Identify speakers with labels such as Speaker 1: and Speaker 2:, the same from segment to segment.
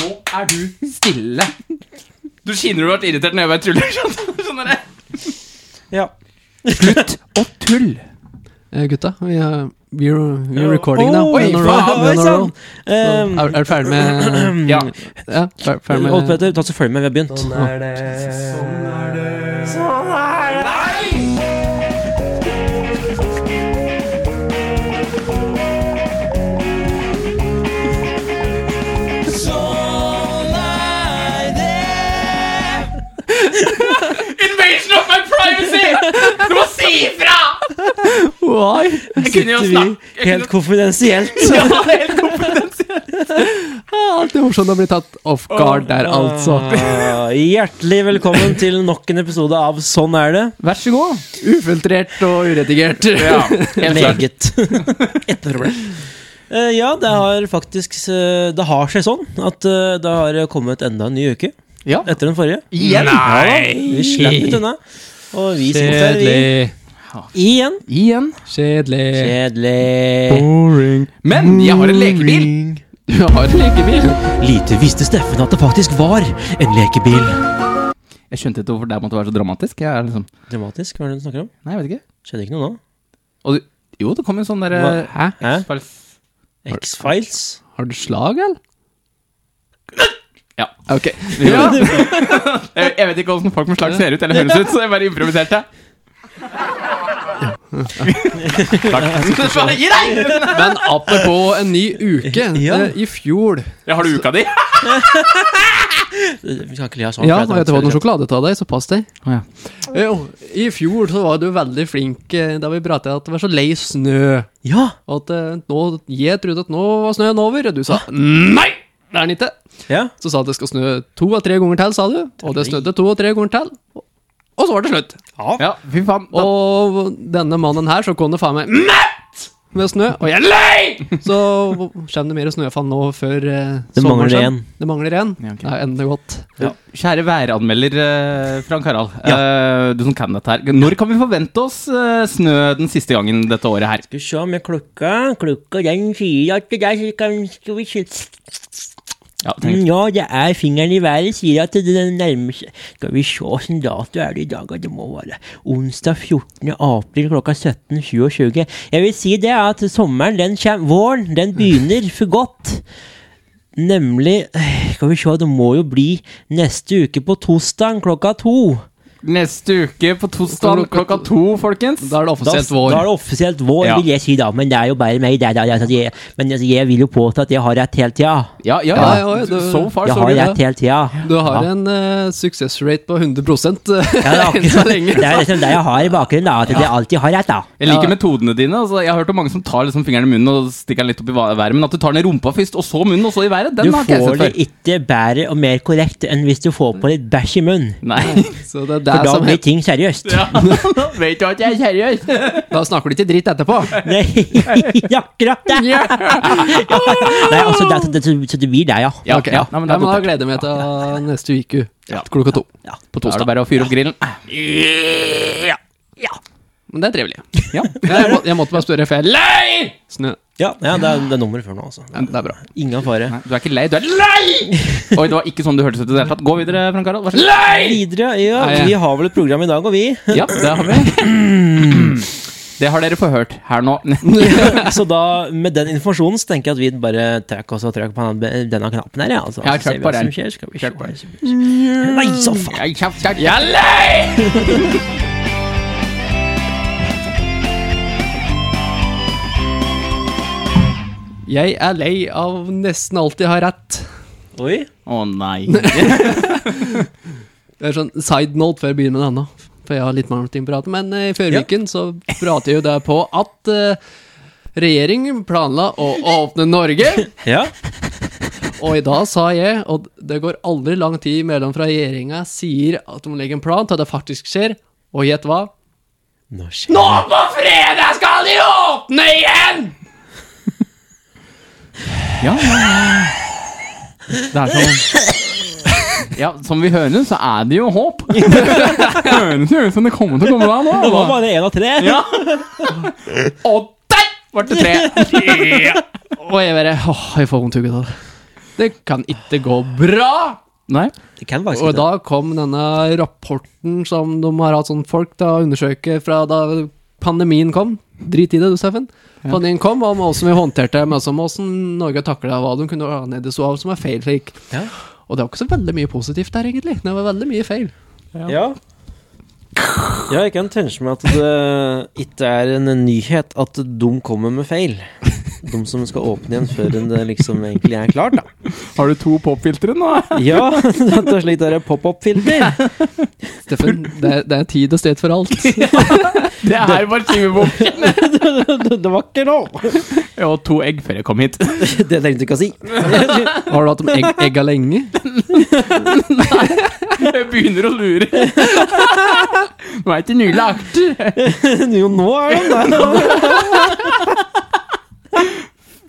Speaker 1: nå er du stille. Du kjenner du har vært irritert når jeg bare tuller. skjønner- Skjønner jeg?
Speaker 2: Ja.
Speaker 1: Slutt å tulle.
Speaker 3: Eh, gutta, vi er we're, we're recording now.
Speaker 2: Oi,
Speaker 3: We're on a roll,
Speaker 2: faen,
Speaker 3: we're
Speaker 2: oi
Speaker 3: on a roll. Ehm,
Speaker 2: sann!
Speaker 3: Så, Er, er du ferdig med
Speaker 1: Ja.
Speaker 3: Ja, fer- ferdig med
Speaker 2: Odd Petter, ta så følg med, vi har begynt.
Speaker 3: er det.
Speaker 1: Invasion of my privacy! Du må si ifra!
Speaker 3: Why?
Speaker 1: Jeg kunne jo
Speaker 2: Sitter
Speaker 1: snakke
Speaker 2: vi helt konfidensielt.
Speaker 1: ja, det er helt kompetent.
Speaker 3: Ah, Alltid morsomt å bli tatt off guard der, altså.
Speaker 2: Ah, Hjertelig velkommen til nok en episode av Sånn er det.
Speaker 3: Vær så god. Ufiltrert og uredigert.
Speaker 1: Ja, helt klart.
Speaker 2: Meget. Ett problem. Eh, ja, det har faktisk eh, Det har seg sånn at eh, det har kommet enda en ny uke
Speaker 3: Ja.
Speaker 2: etter den forrige.
Speaker 3: Igjen.
Speaker 1: Nei!
Speaker 2: Vi slapp litt unna. Og vi sitter her vi,
Speaker 3: Kjedelig.
Speaker 2: igjen.
Speaker 3: Igjen. Kjedelig.
Speaker 2: Kjedelig.
Speaker 1: Men jeg har en lekebil.
Speaker 3: Du har en lekebil.
Speaker 2: Lite visste Steffen at det faktisk var en lekebil.
Speaker 1: Jeg skjønte ikke hvorfor det måtte være så dramatisk. Jeg er liksom
Speaker 2: Dramatisk, hva er det du snakker om?
Speaker 1: Nei, jeg vet ikke.
Speaker 2: Skjedde ikke noe nå?
Speaker 1: Og du, jo, det kom en sånn derre
Speaker 3: Hæ?
Speaker 2: Hæ?
Speaker 1: Spals-
Speaker 2: X-Files?
Speaker 3: Har du slag, eller?
Speaker 1: Ja.
Speaker 3: Ok.
Speaker 1: Ja. jeg, jeg vet ikke hvordan folk med slag ser ut eller høres ut, så jeg bare improviserte. Takk. Bare Gi deg!
Speaker 3: Men apropos en ny uke.
Speaker 2: Ja.
Speaker 3: eh, I fjor
Speaker 1: Ja, har du uka di?
Speaker 2: Vi kan ikke le av sånn.
Speaker 3: Ja,
Speaker 2: for
Speaker 3: og
Speaker 2: det er
Speaker 3: jeg tar noe
Speaker 2: faktisk-
Speaker 3: sjokolade til deg, så pass deg.
Speaker 1: Å, ja.
Speaker 3: Jo, I fjor så var du veldig flink eh, da vi pratet at det var så lei snø.
Speaker 2: Ja!
Speaker 3: Og at eh, nå, jeg trodde at nå var snøen over, og du sa nei! Det er den ikke.
Speaker 2: ja.
Speaker 3: Så sa at det skal snø to av tre ganger til, sa du. Og det snødde to av tre ganger til. Og- Og så var det slutt.
Speaker 1: ja, fy faen. Da-
Speaker 3: Og denne mannen her, så kom det faen meg mett med snø. Og
Speaker 1: Og jeg er lei!
Speaker 3: så kommer det mer snøfall nå før eh,
Speaker 2: Det mangler
Speaker 3: sommeren.
Speaker 2: en.
Speaker 3: Det mangler én.
Speaker 1: Ja, ok.
Speaker 3: Det er endelig godt.
Speaker 1: Ja. Kjære væranmelder eh, Frank Harald, eh, du som kan dette her. Når kan vi forvente oss eh, snø den siste gangen dette året her?
Speaker 2: Skal vi se med klokka. Klokka den sier at det der så kan- skal vi se.
Speaker 1: Ja, tenk.
Speaker 2: Mm, Ja, det er fingeren i været sier at det den nærmer seg. Skal vi se åssen dato er det i dag, og det må være onsdag 14. april klokka 17.27. Jeg vil si det at sommeren, den kjem Våren, den begynner for godt. Nemlig eh, Skal vi se, det må jo bli neste uke på torsdag klokka to.
Speaker 1: Neste uke på torsdag klokka to, folkens.
Speaker 3: Da er det
Speaker 2: Da,
Speaker 3: offisielt vår.
Speaker 2: da er det offisielt vår,
Speaker 1: Ja.
Speaker 2: vil jeg si da. Men det er jo bare meg. Det, er- det, er- altså, jeg, men altså, jeg vil jo påstå at jeg har rett hele tida.
Speaker 1: Ja, ja,
Speaker 3: Ja,
Speaker 1: ja.
Speaker 3: ja, ja, det-
Speaker 1: so far,
Speaker 2: Jeg
Speaker 1: so
Speaker 2: har
Speaker 1: good.
Speaker 2: rett hele tida.
Speaker 3: Du har
Speaker 2: Ja.
Speaker 3: en uh, success rate på 100
Speaker 2: Ja, det, er
Speaker 3: enn så
Speaker 2: akkurat,
Speaker 3: lenge.
Speaker 2: det er liksom det jeg har i bakgrunnen, da. At jeg alltid har rett, da.
Speaker 1: Jeg liker
Speaker 3: Ja.
Speaker 1: metodene dine. altså Jeg har hørt om mange som tar liksom fingeren i munnen og stikker den litt opp i va- været, men at du tar den i rumpa først, og så munnen, og så i været, den
Speaker 2: Du
Speaker 1: har ikke jeg
Speaker 2: får
Speaker 1: sett
Speaker 2: det
Speaker 1: før.
Speaker 2: ikke bedre og mer korrekt enn hvis du får på litt bæsj i munnen.
Speaker 1: Nei.
Speaker 3: Så det er
Speaker 2: For
Speaker 3: det
Speaker 2: da
Speaker 3: som
Speaker 2: blir
Speaker 3: heter
Speaker 2: ting seriøst.
Speaker 1: Ja, Vet du at jeg er seriøs?
Speaker 3: Da snakker du ikke dritt etterpå.
Speaker 2: Nei, akkurat det! Ja. Nei, altså, det, det, så- så det blir det, ja.
Speaker 1: Ja,
Speaker 3: Ok,
Speaker 1: ja.
Speaker 3: Nei, men, da gleder jeg meg til uh, neste uke
Speaker 1: Ja.
Speaker 3: klokka to.
Speaker 2: Ja.
Speaker 3: På
Speaker 1: Da er det
Speaker 3: torsdag.
Speaker 1: bare å fyre opp grillen.
Speaker 3: Men det er trivelig.
Speaker 1: Ja.
Speaker 3: Jeg, må, jeg måtte bare spørre, for jeg er lei snø.
Speaker 2: Ja, ja, det, er, det er nummeret før nå, altså.
Speaker 3: Ja, det er bra.
Speaker 2: Ingen fare.
Speaker 1: Nei, du er ikke lei, du er lei! Oi, det var ikke sånn du hørtes ut i det hele tatt. Gå videre, Frank Harald. Vær så snill.
Speaker 2: Videre, ja,
Speaker 3: Nei, jeg-
Speaker 2: vi har vel et program i dag, og vi.
Speaker 1: Ja, det har vi. Det har dere forhørt her nå.
Speaker 2: Så da, med den informasjonen, så tenker jeg at vi bare trekker oss og trekker på den- denne knappen her, ja. Altså,
Speaker 1: Ja,
Speaker 2: Så ser
Speaker 1: trykk
Speaker 2: vi
Speaker 1: på
Speaker 2: hva som
Speaker 1: den.
Speaker 2: skjer. Skal vi
Speaker 1: Trykk på
Speaker 2: se. Nei, så faen!
Speaker 1: Jeg er kjapt, kjapt. Jeg er lei!
Speaker 3: Jeg er lei av nesten alt jeg har rett.
Speaker 2: Oi.
Speaker 1: Å nei.
Speaker 3: Det er sånn side note før jeg begynner med denne. For jeg har litt mer ting å prate Men eh, i
Speaker 2: Ja.
Speaker 3: føruken så prater jeg jo der på at eh, regjeringen planla å åpne Norge.
Speaker 2: Ja.
Speaker 3: Og i dag sa jeg, og det går aldri lang tid mellom fra regjeringa sier at de legger en plan til at det faktisk skjer, og gjett hva?
Speaker 2: Nå skjer
Speaker 3: Nå på fredag skal de åpne igjen!
Speaker 1: Ja, ja, ja. Det er sånn Ja, som vi hører, så er det jo håp. Det høres jo ut som det kommer til å komme deg
Speaker 2: det.
Speaker 1: nå.
Speaker 2: var bare én av tre.
Speaker 1: Ja. Og der ble det tre!
Speaker 3: Og jeg bare åh, jeg får vondt i hodet av det. Det kan ikke gå bra!
Speaker 1: Nei?
Speaker 2: Det kan faktisk
Speaker 3: Og
Speaker 2: ikke.
Speaker 3: da kom denne rapporten som de har hatt sånn folk til å undersøke fra da pandemien kom. Drit i det, du, Steffen. Pandemien kom, om hvordan vi håndterte det, men også om hvordan Norge takla hva de kunne ha nede så av som er feil. Slik.
Speaker 2: Ja.
Speaker 3: Og det var ikke så veldig mye positivt der, egentlig. Det var veldig mye feil.
Speaker 1: Ja.
Speaker 2: Ja. ja, jeg kan tenke meg at det ikke er en nyhet at de kommer med feil. De som skal åpne igjen før det liksom egentlig er klart, da.
Speaker 1: Har du to popfiltre nå?
Speaker 2: Ja, rett og slett er det pop-up-filter.
Speaker 3: Steffen, det, er- det er tid og sted for alt.
Speaker 1: Det er bare timebok.
Speaker 2: Det var ikke lov!
Speaker 1: Og to egg før jeg kom hit.
Speaker 2: Det tenkte jeg ikke å si.
Speaker 3: Har du hatt dem egg, egga lenge?
Speaker 1: Jeg begynner å lure. Nå er ikke nylagt.
Speaker 2: Jo, nå er det det.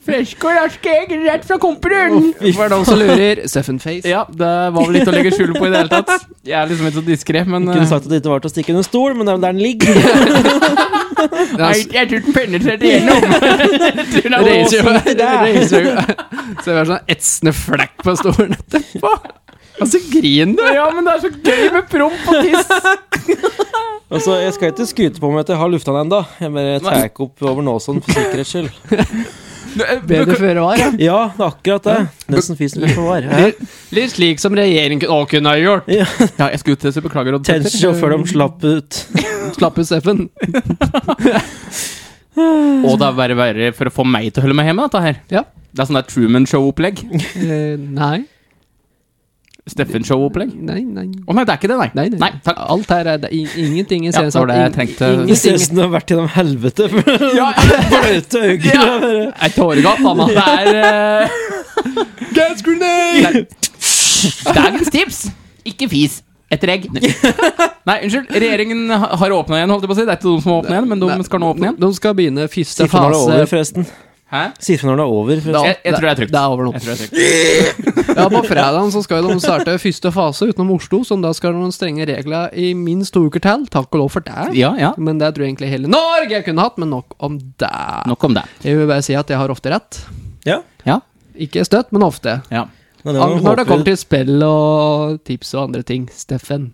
Speaker 1: Freske og raske egg rett fra komperøren.
Speaker 3: For de som lurer, Steffen Face.
Speaker 1: Ja, det var vel ikke å legge skjul på i det hele tatt. Jeg er liksom ikke så diskré, men
Speaker 2: Kunne
Speaker 1: eh,
Speaker 2: sagt at det ikke var til å stikke under stol, men det er jo der den ligger.
Speaker 3: Det
Speaker 1: Nei,
Speaker 3: er-
Speaker 1: jeg tror den penetrerte gjennom. Jeg tror den sånn er
Speaker 3: reiser jo
Speaker 1: åpen.
Speaker 3: reiser jo- Så jeg har sånn etsende flekk på stolen etterpå. Og
Speaker 1: Altså,
Speaker 3: så griner du.
Speaker 1: Ja, men det er så gøy med promp og tiss.
Speaker 2: Altså, jeg skal ikke skryte på meg at jeg har lufta den ennå. Jeg bare tar ikke opp over nåsen for sikkerhets skyld.
Speaker 1: eh,
Speaker 3: Bedre føre var, ja.
Speaker 2: Ja, det er akkurat det. Nesten fisen blir for var.
Speaker 3: Litt- Litt slik som regjeringen kun- å, kunne ha gjort.
Speaker 2: Ja.
Speaker 1: Ja, jeg skulle til å si beklager. Odd Petter.
Speaker 2: Tension før de slapp ut.
Speaker 3: Slapp ut, Steffen.
Speaker 1: Og det er bare verre for å få meg til å holde meg hjemme, dette her.
Speaker 3: Ja.
Speaker 1: Det er sånn der Truman Show-opplegg.
Speaker 3: Eh, nei.
Speaker 1: Steffen Show-opplegg.
Speaker 3: Nei, nei.
Speaker 1: Å nei, det er ikke det, nei.
Speaker 3: Nei, nei.
Speaker 1: takk.
Speaker 3: Alt her er det, i- ingenting i
Speaker 1: Ja, det var det jeg tenkte.
Speaker 2: Ingen ser ut som de har vært gjennom helvete.
Speaker 1: Ja,
Speaker 2: Bløte øyne.
Speaker 3: Et tåregass, da, mann.
Speaker 1: Det er eh,
Speaker 3: Gas grenade!
Speaker 1: Dagens tips! Ikke fis etter egg. Nei, unnskyld. Regjeringen ha- har åpna igjen, holdt jeg på å si. Det er ikke de som har åpna igjen, men de
Speaker 3: Nei.
Speaker 1: skal nå åpne igjen.
Speaker 3: De skal begynne første
Speaker 2: Si fra når det er over,
Speaker 3: fase.
Speaker 2: forresten.
Speaker 1: Hæ?
Speaker 2: Si fra når det er over. forresten.
Speaker 1: Jeg, jeg tror det er trygt.
Speaker 3: Det er over nå.
Speaker 1: Jeg tror det er trygt.
Speaker 3: Ja, På fredagen så skal de starte første fase utenom Oslo, som da skal ha noen strenge regler i minst to uker til. Takk og lov for det.
Speaker 1: Ja, ja.
Speaker 3: Men det tror jeg egentlig hele Norge kunne hatt, men nok om det.
Speaker 1: Nok om det.
Speaker 3: Jeg vil bare si at jeg har ofte rett.
Speaker 2: Ja.
Speaker 1: Ja.
Speaker 3: Ikke støtt, men ofte.
Speaker 1: ja.
Speaker 2: Nå, det var-
Speaker 3: Når det kommer
Speaker 2: håper-
Speaker 3: til spill og tips og andre ting. Steffen.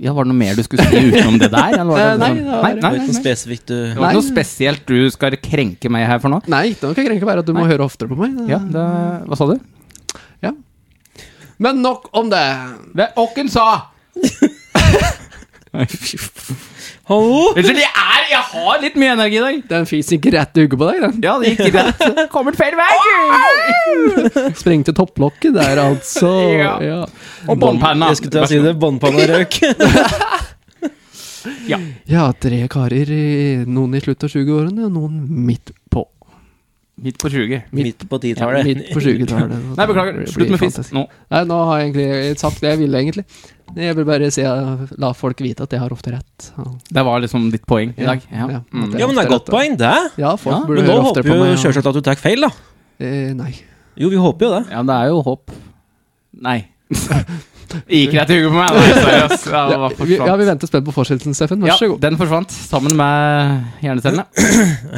Speaker 1: Ja, Var det noe mer du skulle si utenom det der? Eller var det
Speaker 3: Nei,
Speaker 1: liksom-
Speaker 3: det
Speaker 1: nei, nei,
Speaker 2: Det
Speaker 3: var-
Speaker 2: var ikke
Speaker 1: nei,
Speaker 2: noe
Speaker 1: nei.
Speaker 2: spesifikt uh, du
Speaker 1: Det var ikke noe spesielt du skal krenke meg her for nå?
Speaker 3: Nei, det kan ikke være at du må høre oftere på meg.
Speaker 1: Ja, det, Hva sa du?
Speaker 3: Men nok om det.
Speaker 1: Det Åkken sa!
Speaker 2: Hallo?
Speaker 1: Unnskyld, jeg er Jeg har litt mye energi i dag.
Speaker 3: Den fins ikke rett uke på deg, den.
Speaker 1: Ja, det gikk greit. Kommer feil vei,
Speaker 3: Sprengte topplokket der, altså.
Speaker 1: Ja.
Speaker 3: ja.
Speaker 1: Og båndpanna.
Speaker 2: Jeg skulle til å si det. Båndpanna røk.
Speaker 3: Ja, tre karer. eh, Noen i slutt av 20-årene, og noen midt på.
Speaker 1: Midt på 20.
Speaker 2: Midt på
Speaker 3: Ja,
Speaker 2: titallet.
Speaker 3: midt på 20-tallet.
Speaker 1: Nei, beklager. Slutt med fisk nå.
Speaker 3: Nei, nå har jeg egentlig sagt det jeg ville, egentlig. Jeg vil bare si, la folk vite at jeg har ofte rett.
Speaker 1: Det var liksom ditt poeng i dag. Ja.
Speaker 3: Ja.
Speaker 1: Mm.
Speaker 2: Ja, men det er godt poeng, det.
Speaker 3: Ja, folk
Speaker 1: Ja,
Speaker 3: burde
Speaker 2: Men nå
Speaker 3: høre oftere
Speaker 2: håper
Speaker 3: på meg.
Speaker 2: jo
Speaker 3: ja.
Speaker 2: sjølsagt at du tar feil, da.
Speaker 3: Eh, nei.
Speaker 2: Jo, vi håper jo det.
Speaker 1: Ja, det er jo håp. Nei. Gikk rett i huet på meg. Nei, seriøst. Ja, det
Speaker 3: Ja,
Speaker 1: var
Speaker 3: vi, ja,
Speaker 1: forsvant.
Speaker 3: vi venter spent på fortsettelsen, Steffen. Vær
Speaker 1: Ja,
Speaker 3: så god.
Speaker 1: den forsvant sammen med hjernecellene.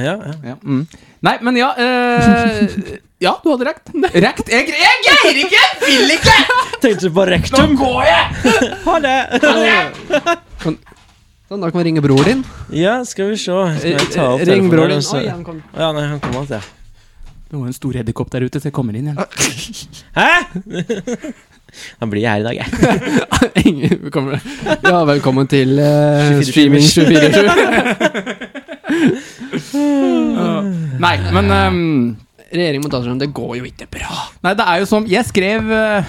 Speaker 2: Ja, ja.
Speaker 1: Ja. Mm. Nei, men ja eh, Ja, du hadde rekt. Rekt? Jeg, jeg greier ikke! Jeg vil ikke!
Speaker 2: Tenkte på
Speaker 1: Nå
Speaker 2: rektum.
Speaker 1: går jeg!
Speaker 2: Ha det.
Speaker 3: Sånn, da kan vi ringe bror din.
Speaker 2: Ja, skal vi se. Skal jeg ta opp
Speaker 3: Eh, Ring bror din.
Speaker 2: telefonen, så-
Speaker 3: Oi, han kom.
Speaker 2: Ja, nei, han kom alt, ja.
Speaker 1: Det var en stor edderkopp der ute, så jeg kommer inn igjen.
Speaker 2: Hæ? Han blir her i dag, jeg.
Speaker 3: Ingen- vi kommer- ja, velkommen til eh,
Speaker 2: 24
Speaker 3: Streaming 24-7.
Speaker 1: Nei, men ehm,
Speaker 3: Regjeringen må ta seg om det går jo ikke bra.
Speaker 1: Nei, det er jo som Jeg skrev eh,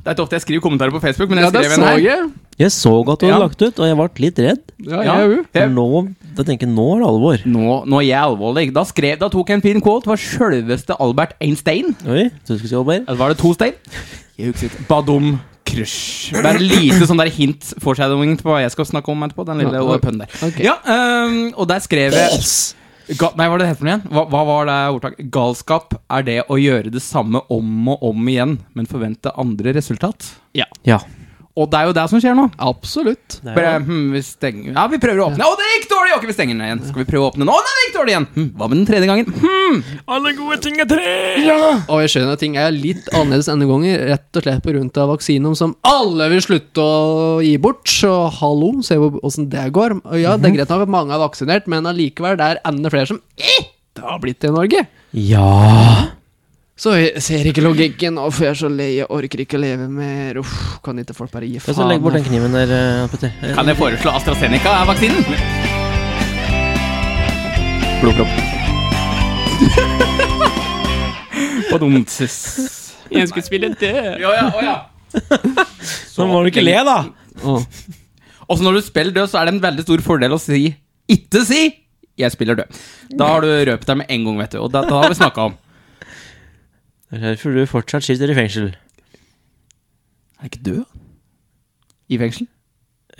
Speaker 1: Det er ikke ofte jeg skriver kommentarer på Facebook, men
Speaker 3: Ja,
Speaker 1: jeg
Speaker 3: det
Speaker 1: skrev en
Speaker 3: så
Speaker 1: her.
Speaker 3: jeg.
Speaker 2: Jeg så at du
Speaker 1: Ja.
Speaker 2: hadde lagt ut, og jeg ble litt redd.
Speaker 3: Ja, jeg òg.
Speaker 2: For
Speaker 1: det-
Speaker 2: nå, da tenker jeg, nå er det alvor.
Speaker 1: Nå, nå er jeg alvorlig. Da, skrev, da tok jeg en fin quote fra sjølveste Albert Einstein.
Speaker 2: Oi, du skulle si Albert?
Speaker 1: Eller var det to stein? Jeg husker ikke. Badum crush. Det er lite sånn der hint foreshadowing på hva jeg skal snakke om etterpå. Den lille
Speaker 3: Ja,
Speaker 1: ja, pønnen der.
Speaker 3: ok.
Speaker 1: Ja, ehm, og der skrev jeg Ga, Nei, hva var det det het for noe igjen? Hva, hva var det ordtaket? Galskap er det å gjøre det samme om og om igjen, men forvente andre resultat.
Speaker 2: Ja.
Speaker 1: Og det er jo det som skjer nå.
Speaker 3: Absolutt.
Speaker 4: Det er
Speaker 1: Bare,
Speaker 4: jo-
Speaker 1: hm, vi stenger Ja, vi prøver å åpne. Å, det gikk dårlig! Ok, vi stenger den igjen. Skal vi prøve å åpne den? Å, nei, det gikk dårlig igjen! Hm, hva med den tredje gangen? Hm.
Speaker 4: Alle gode ting er tre!
Speaker 3: Og jeg skjønner at ting er litt annerledes enn noen ganger, rett og slett pga. vaksinen som alle vil slutte å gi bort. Så hallo, se hvor- åssen det går. Og ja,
Speaker 1: Mhm.
Speaker 3: det er greit nok at mange er vaksinert, men allikevel, det er enda flere som ikke har blitt det i Norge.
Speaker 4: Ja
Speaker 3: Så jeg ser ikke logikken, og jeg er så lei, jeg orker ikke leve mer. Uff, kan ikke folk bare gi
Speaker 4: Og så
Speaker 3: faen?
Speaker 4: Legg bort den kniven der, eh, Petter. Eh,
Speaker 1: Kan jeg foreslå AstraZeneca-vaksinen? Blodpropp. Badumtsis.
Speaker 4: Jeg skulle spille det.
Speaker 1: Ja, ja, å, ja. Eh,
Speaker 4: Så må du ikke le, da.
Speaker 3: Å.
Speaker 1: Og så når du spiller død, så er det en veldig stor fordel å si ikke si 'jeg spiller død'. Da har du røpt deg med en gang, vet du. Og dette har vi snakka om.
Speaker 4: Det er derfor du fortsatt sitter i fengsel.
Speaker 1: Er ikke død? I fengsel?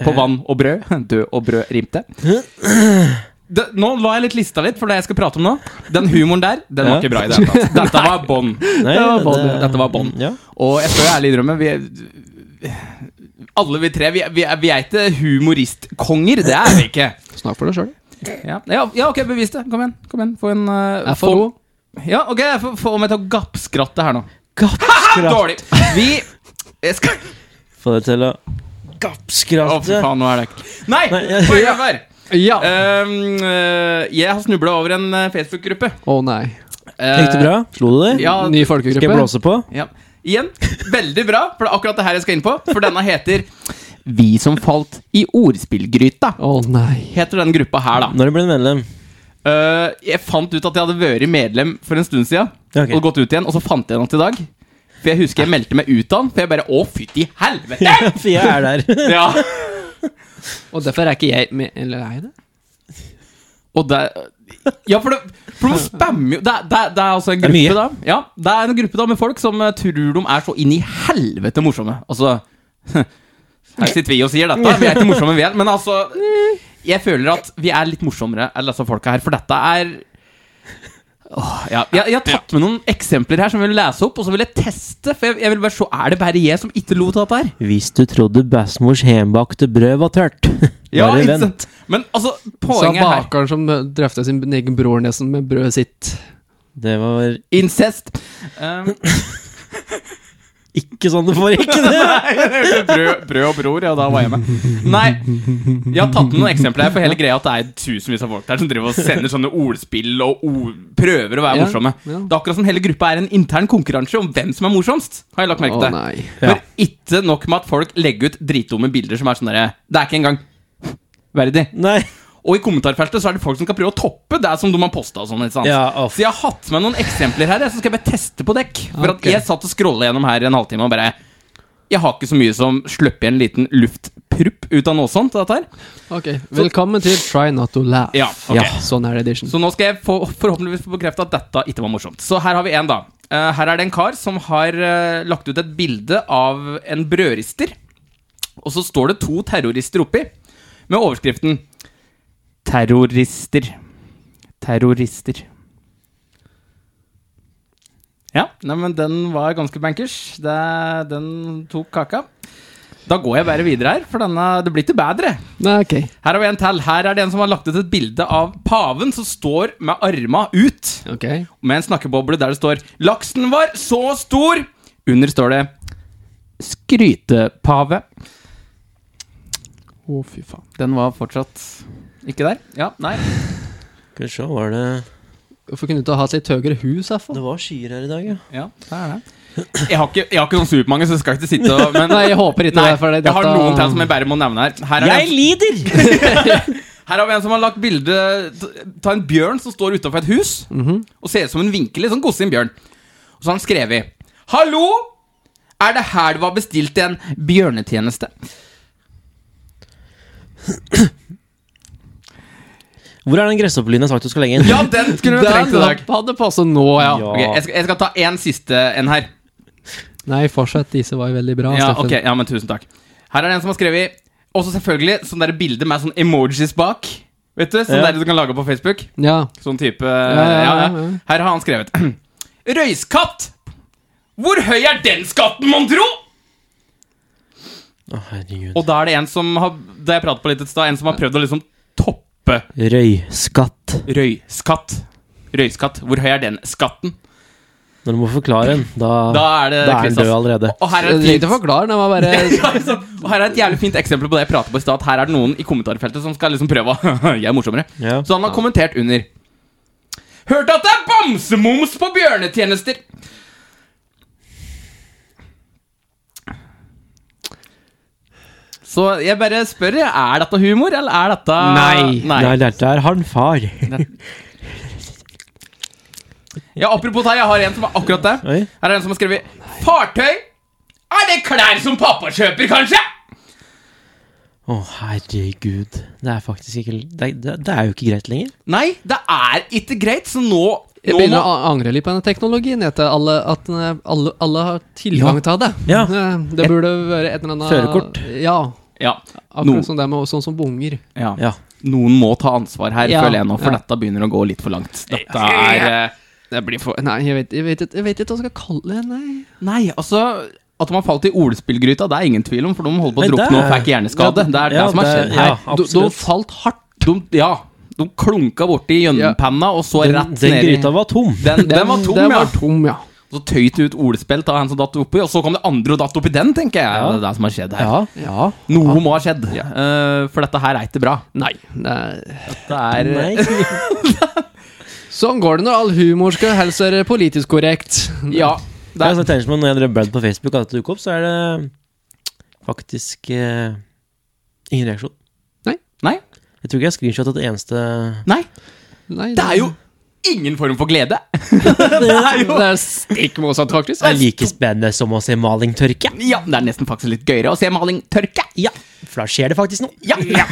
Speaker 1: På vann og brød. Død og brød rimte. Det, nå la jeg litt lista litt for det jeg skal prate om nå. Den humoren der, den var
Speaker 4: Ja.
Speaker 1: ikke bra i det hele tatt. Dette var bånn.
Speaker 4: Nei,
Speaker 1: Det var bånd. Dette var bånd.
Speaker 4: Ja.
Speaker 1: Og jeg skal jo ærlig innrømme vi, Alle vi tre, vi, vi, er- vi er ikke humoristkonger. Det er vi ikke.
Speaker 3: Snakk for deg sjøl.
Speaker 1: Ja, ja, ja ok, bevis det. Kom igjen. kom igjen Få en uh,
Speaker 3: FHO.
Speaker 1: Ja, ok, jeg får- Få meg til å gappskratte her nå.
Speaker 4: Gappskratt.
Speaker 1: Dårlig. Vi jeg skal
Speaker 4: Få det til å
Speaker 1: Å, fy
Speaker 2: Altså,
Speaker 4: Gappskratte.
Speaker 1: faen, nå er det ikke Nei!
Speaker 4: Nei, ja,
Speaker 1: Poenget var
Speaker 3: Ja. Å
Speaker 1: ehm, eh, Jeg har snubla over en eh, Facebook-gruppe.
Speaker 3: nei.
Speaker 1: Eh,
Speaker 4: Gikk det bra? Slo du det?
Speaker 1: Ja,
Speaker 3: Ny
Speaker 4: Skal jeg
Speaker 3: folkegruppe.
Speaker 4: blåse på?
Speaker 1: Ja. Igjen, veldig bra, for det er akkurat det her jeg skal inn på. For denne heter Vi som falt i ordspillgryta.
Speaker 3: Å nei.
Speaker 1: Heter den gruppa her, da.
Speaker 4: Når du ble medlem?
Speaker 1: Eh, jeg fant ut at jeg hadde vært medlem for en stund siden,
Speaker 4: Ja, ok.
Speaker 1: og gått ut igjen, og så fant jeg den til i dag. For jeg husker jeg meldte meg ut av den, for jeg bare Å, fytti helvete!
Speaker 4: For jeg er der.
Speaker 1: Ja.
Speaker 3: Og derfor er ikke jeg med Eller er jeg det?
Speaker 1: Og det Ja, for det For de spammer jo Det, er- det, er- det er altså en
Speaker 4: Det er mye.
Speaker 1: gruppe, da. Ja, det er en gruppe da med folk som eh, tror de er så inn i helvete morsomme. Altså Her sitter vi og sier dette. Vi er ikke morsomme, vi er. Men altså Jeg føler at vi er litt morsommere enn disse folka her, for dette er Åh, ja. jeg, jeg har tatt med noen eksempler her som jeg vil lese opp, og så vil jeg teste. For jeg, jeg vil bare se Er det bare jeg som ikke lo av dette her?
Speaker 4: Hvis du trodde bestemors hjemmebakte brød var tørt, bare
Speaker 1: ikke
Speaker 4: vent.
Speaker 1: sant? Men altså,
Speaker 3: Sa
Speaker 1: poenget her
Speaker 3: bakeren som drøfta sin egen bror nesten med brødet sitt.
Speaker 4: Det var
Speaker 1: Incest. Um,
Speaker 4: ikke sånn det foregikk.
Speaker 1: Nei, brød, brød og bror, ja, da var jeg med. Nei, jeg har tatt med noen eksempler her, for hele greia at det er tusenvis av folk der som driver og sender sånne ordspill og ord, prøver å være
Speaker 3: Ja,
Speaker 1: morsomme.
Speaker 3: ja.
Speaker 1: Det er akkurat som hele gruppa er en intern konkurranse om hvem som er morsomst, har jeg lagt merke
Speaker 3: Å
Speaker 1: til.
Speaker 3: nei.
Speaker 1: For ikke nok med at folk legger ut dritdumme bilder som er sånn derre Det er ikke engang verdig.
Speaker 4: Nei.
Speaker 1: Og i kommentarfeltet så er det folk som skal prøve å toppe det som de har posta. Og sånn, ikke sant?
Speaker 4: Ja, å, f-
Speaker 1: Så jeg har hatt med noen eksempler her, jeg, så skal jeg bare teste på dekk. For
Speaker 3: Ok.
Speaker 1: at jeg satt og scrolla gjennom her i en halvtime og bare Jeg har ikke så mye som slipper en liten luftprupp ut av noe sånt. Dette her.
Speaker 3: Ok, velkommen til Try Not To Laugh.
Speaker 1: Ja, ok.
Speaker 4: Ja.
Speaker 3: Sånn er det edition.
Speaker 1: Så nå skal jeg få, forhåpentligvis få bekrefta at dette ikke var morsomt. Så her har vi en, da. Eh, her er det en kar som har eh, lagt ut et bilde av en brødrister. Og så står det to terrorister oppi, med overskriften 'Terrorister'. Terrorister. Ja, nei, men den var ganske bankers. Det, den tok kaka. Da går jeg bare videre her, for denne, det blir ikke bedre.
Speaker 3: Nei, ok.
Speaker 1: Her har vi en til. Her er det en som har lagt ut et bilde av paven som står med arma ut
Speaker 3: Ok.
Speaker 1: med en snakkeboble der det står 'Laksen var så stor'. Under står det 'Skrytepave'. Å, fy faen. Den var fortsatt ikke der? Ja, nei.
Speaker 4: Skal vi se, var det
Speaker 3: Hvorfor kunne du ikke ha hatt litt høyere hus, i hvert fall?
Speaker 4: Det var skyer her i dag, ja.
Speaker 1: Ja, der er det. Jeg har ikke, jeg har ikke sånn supermange, så jeg skal ikke sitte og men,
Speaker 3: Nei, jeg håper ikke
Speaker 1: Nei,
Speaker 3: det. For det
Speaker 1: jeg har
Speaker 3: dette-
Speaker 1: noen til som jeg bare må nevne her. Her er det en-
Speaker 4: Jeg lider!
Speaker 1: Her har vi en som har lagt bilde Ta en bjørn som står utenfor et hus Og ser ut som en vinkelig, sånn gossig bjørn Og så har han skrevet Hallo, er det her det var bestilt en bjørnetjeneste?
Speaker 4: Hvor er den gresshoppelyden jeg har sagt du skal legge inn?
Speaker 1: Ja, den skulle du trengt i dag
Speaker 3: Den hadde passet nå, ja.
Speaker 4: Ja.
Speaker 1: Ok, jeg, skal, jeg skal ta en siste en her
Speaker 3: Nei, fortsett. Disse var jo veldig bra.
Speaker 1: Ja,
Speaker 3: Steffen.
Speaker 1: ok, ja, men tusen takk Her er det en som har skrevet Også selvfølgelig sånn der bilde med sånn emojis bak Vet du, sånn
Speaker 4: Ja.
Speaker 1: der du kan lage på Facebook
Speaker 3: Ja.
Speaker 1: Sånn type
Speaker 3: ja,
Speaker 1: ja, ja.
Speaker 3: ja, ja.
Speaker 1: Her har han skrevet Røyskatt! Hvor høy er den skatten, mon tro?
Speaker 2: Å, herregud.
Speaker 1: Og da er det en som har Det jeg pratet på litt et sted, en som har prøvd å liksom toppe
Speaker 2: Røyskatt.
Speaker 1: røyskatt. Røyskatt. Hvor høy er den skatten?
Speaker 2: Når du må forklare den, da,
Speaker 1: Da er det
Speaker 2: Ah, da er den
Speaker 1: Kristians.
Speaker 2: død allerede.
Speaker 1: Og her er
Speaker 3: Jeg
Speaker 1: et
Speaker 3: trengte
Speaker 1: fint
Speaker 3: å forklare den, jeg var bare
Speaker 1: Ja, liksom. Og her er et jævlig fint eksempel på det jeg pratet på i stad. at Her er det noen i kommentarfeltet som skal liksom prøve å Jeg er morsommere.
Speaker 2: Ja.
Speaker 1: Så han har kommentert under. Hørte at det er bamsemums på bjørnetjenester! Så jeg bare spør, er dette humor, eller er dette
Speaker 3: Nei.
Speaker 1: Nei.
Speaker 2: Nei, dette er han far.
Speaker 1: Ja, apropos her, jeg har en som er akkurat det.
Speaker 2: Oi.
Speaker 1: Her er en som har skrevet Fartøy! Er det klær som pappa kjøper, kanskje?
Speaker 2: Å, herregud. Det er faktisk ikke det, det, det er jo ikke greit lenger.
Speaker 1: Nei, det er ikke greit, så nå,
Speaker 3: Jeg
Speaker 1: nå
Speaker 3: begynner
Speaker 1: må-
Speaker 3: å a- angre litt på denne teknologien. Etter alle, at den er- alle, alle har tilgang
Speaker 2: Ja.
Speaker 3: til det.
Speaker 2: Ja.
Speaker 3: Eh, Det burde være et eller annet
Speaker 2: Førerkort.
Speaker 3: Ja.
Speaker 1: Ja.
Speaker 3: Akkurat
Speaker 1: No.
Speaker 3: som det med sånn som bunger.
Speaker 1: ja.
Speaker 2: Ja.
Speaker 1: Noen må ta ansvar her,
Speaker 3: Ja.
Speaker 1: føler jeg nå, for
Speaker 3: Ja.
Speaker 1: dette begynner å gå litt for langt. Dette er eh, Det blir for
Speaker 3: Nei, jeg vet, jeg vet, ikke- jeg vet ikke hva jeg skal kalle det. Nei.
Speaker 1: Nei, altså At man falt i ordspillgryta, det er ingen tvil om, for de holder på å
Speaker 2: Men det
Speaker 1: drukne og
Speaker 2: er-
Speaker 1: fikk hjerneskade. Det er det
Speaker 2: Ja,
Speaker 1: som har
Speaker 2: det-
Speaker 1: skjedd her.
Speaker 2: ja.
Speaker 3: De, de
Speaker 2: absolutt.
Speaker 3: falt hardt.
Speaker 1: De, ja, de klunka borti gjønnepanna, og så
Speaker 2: Den,
Speaker 1: rett
Speaker 2: den
Speaker 1: ned i
Speaker 2: gryta var tom.
Speaker 1: den, den var tom,
Speaker 3: den
Speaker 1: ja.
Speaker 3: var tom, ja.
Speaker 1: Så tøyt ut ordspill av en som datt oppi, og så kom det andre og datt oppi den, tenker jeg.
Speaker 2: Ja.
Speaker 1: Det er det som har skjedd her.
Speaker 2: Ja.
Speaker 3: ja.
Speaker 1: Noe må ha skjedd, eh, for dette her er ikke bra.
Speaker 3: Nei. nei.
Speaker 1: Det er
Speaker 2: Nei.
Speaker 3: Sånn går det når all humor skal helst være politisk korrekt.
Speaker 1: Ja.
Speaker 2: Det
Speaker 1: Det
Speaker 2: er
Speaker 1: er,
Speaker 2: sånn tenker man når jeg drev Brad på Facebook, at det dukker opp, så er det faktisk eh, ingen reaksjon.
Speaker 1: nei.
Speaker 2: Jeg tror ikke jeg screenshotet et eneste
Speaker 1: Nei.
Speaker 3: Nei,
Speaker 1: Det er jo ingen form for glede.
Speaker 3: det er jo Det er stikk motsatt, faktisk.
Speaker 2: Det er like spennende som å se maling tørke.
Speaker 1: Ja, Det er nesten faktisk litt gøyere å se maling tørke.
Speaker 2: Ja, for da skjer det faktisk noe.
Speaker 1: Ja, ja.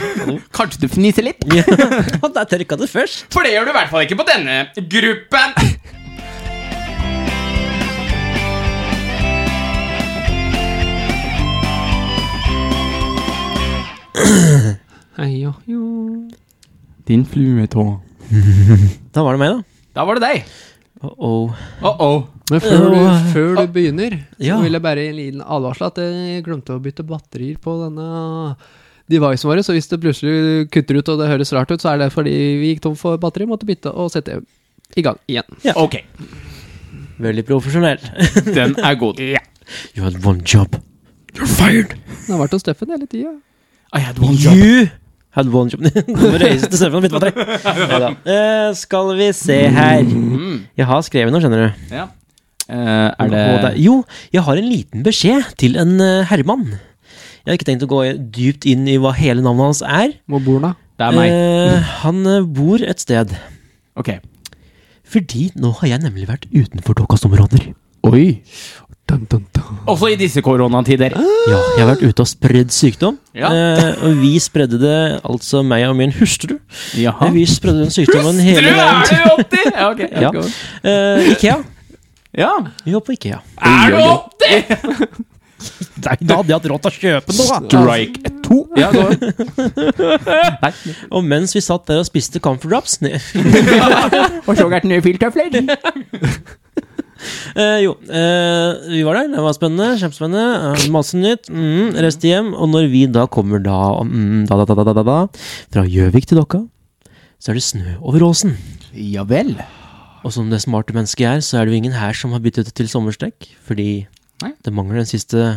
Speaker 1: Kanskje du fniser litt?
Speaker 2: Ja, der tørka det først.
Speaker 1: For det gjør du i hvert fall ikke på denne gruppen.
Speaker 3: Nei, ja, jo.
Speaker 1: Din fluetå.
Speaker 2: Da var det meg, da.
Speaker 1: Da var det deg.
Speaker 2: Oh, oh.
Speaker 1: Uh-oh.
Speaker 3: Men før du,
Speaker 2: Øh.
Speaker 3: før du begynner,
Speaker 2: Ja.
Speaker 3: så vil jeg bare gi en liten advarsel at jeg glemte å bytte batterier på denne devicen vår, så hvis det plutselig kutter ut og det høres rart ut, så er det fordi vi gikk tom for batteri, måtte bytte og sette i gang igjen.
Speaker 1: Ok,
Speaker 2: Veldig profesjonell.
Speaker 1: den er god.
Speaker 2: You had one job.
Speaker 1: You're fired.
Speaker 3: Det har vært hos Steffen hele tida.
Speaker 1: I had one job.
Speaker 2: You had one job. Du må reise til Steffen og bytte batteri. Neida. Eh, skal vi se her. Jeg har skrevet noe, skjønner du.
Speaker 1: Ja. Eh, Mm. er
Speaker 2: Og det-
Speaker 1: det
Speaker 2: Jo, jeg har en liten beskjed til en eh, herremann. Jeg har ikke tenkt å gå dypt inn i hva hele navnet hans er.
Speaker 3: Må borna.
Speaker 1: Det er meg.
Speaker 2: Eh, han eh, bor et sted.
Speaker 1: Eh. Ok.
Speaker 2: Fordi nå har jeg nemlig vært utenfor deres områder.
Speaker 3: Oi! Dun, dun, dun.
Speaker 1: Også i disse koronatider.
Speaker 2: Ja, jeg har vært ute og spredd sykdom.
Speaker 1: Ja.
Speaker 2: Eh, og vi spredde det, altså meg og min hustru.
Speaker 1: Jaha.
Speaker 2: Vi spredde den
Speaker 1: Tror
Speaker 2: sykdommen hele
Speaker 1: du er
Speaker 2: veien til
Speaker 1: du 80? Ja, ok.
Speaker 2: Ja. eh, Ikea.
Speaker 1: ja.
Speaker 2: Vi var på Ikea.
Speaker 1: Er du 80?!
Speaker 2: Nei, da hadde jeg hatt råd til å kjøpe noe! da.
Speaker 1: Strike to. Ja, gå. Nei.
Speaker 2: Og mens vi satt der og spiste Comfort Drops ne,
Speaker 1: Og så er det nye filtøfler.
Speaker 2: eh, Jo, eh, vi var der. Det var spennende. Kjempespennende. eh, masse nytt. Mm, Reiste hjem. Og når vi da kommer da, mm, da, da, da, da, da, da, da fra Gjøvik til Dokka, så er det snø over åsen.
Speaker 1: Ja vel.
Speaker 2: Og som det smarte mennesket jeg er, så er det jo ingen her som har byttet til sommerstrekk, fordi
Speaker 1: Nei.
Speaker 2: det mangler den siste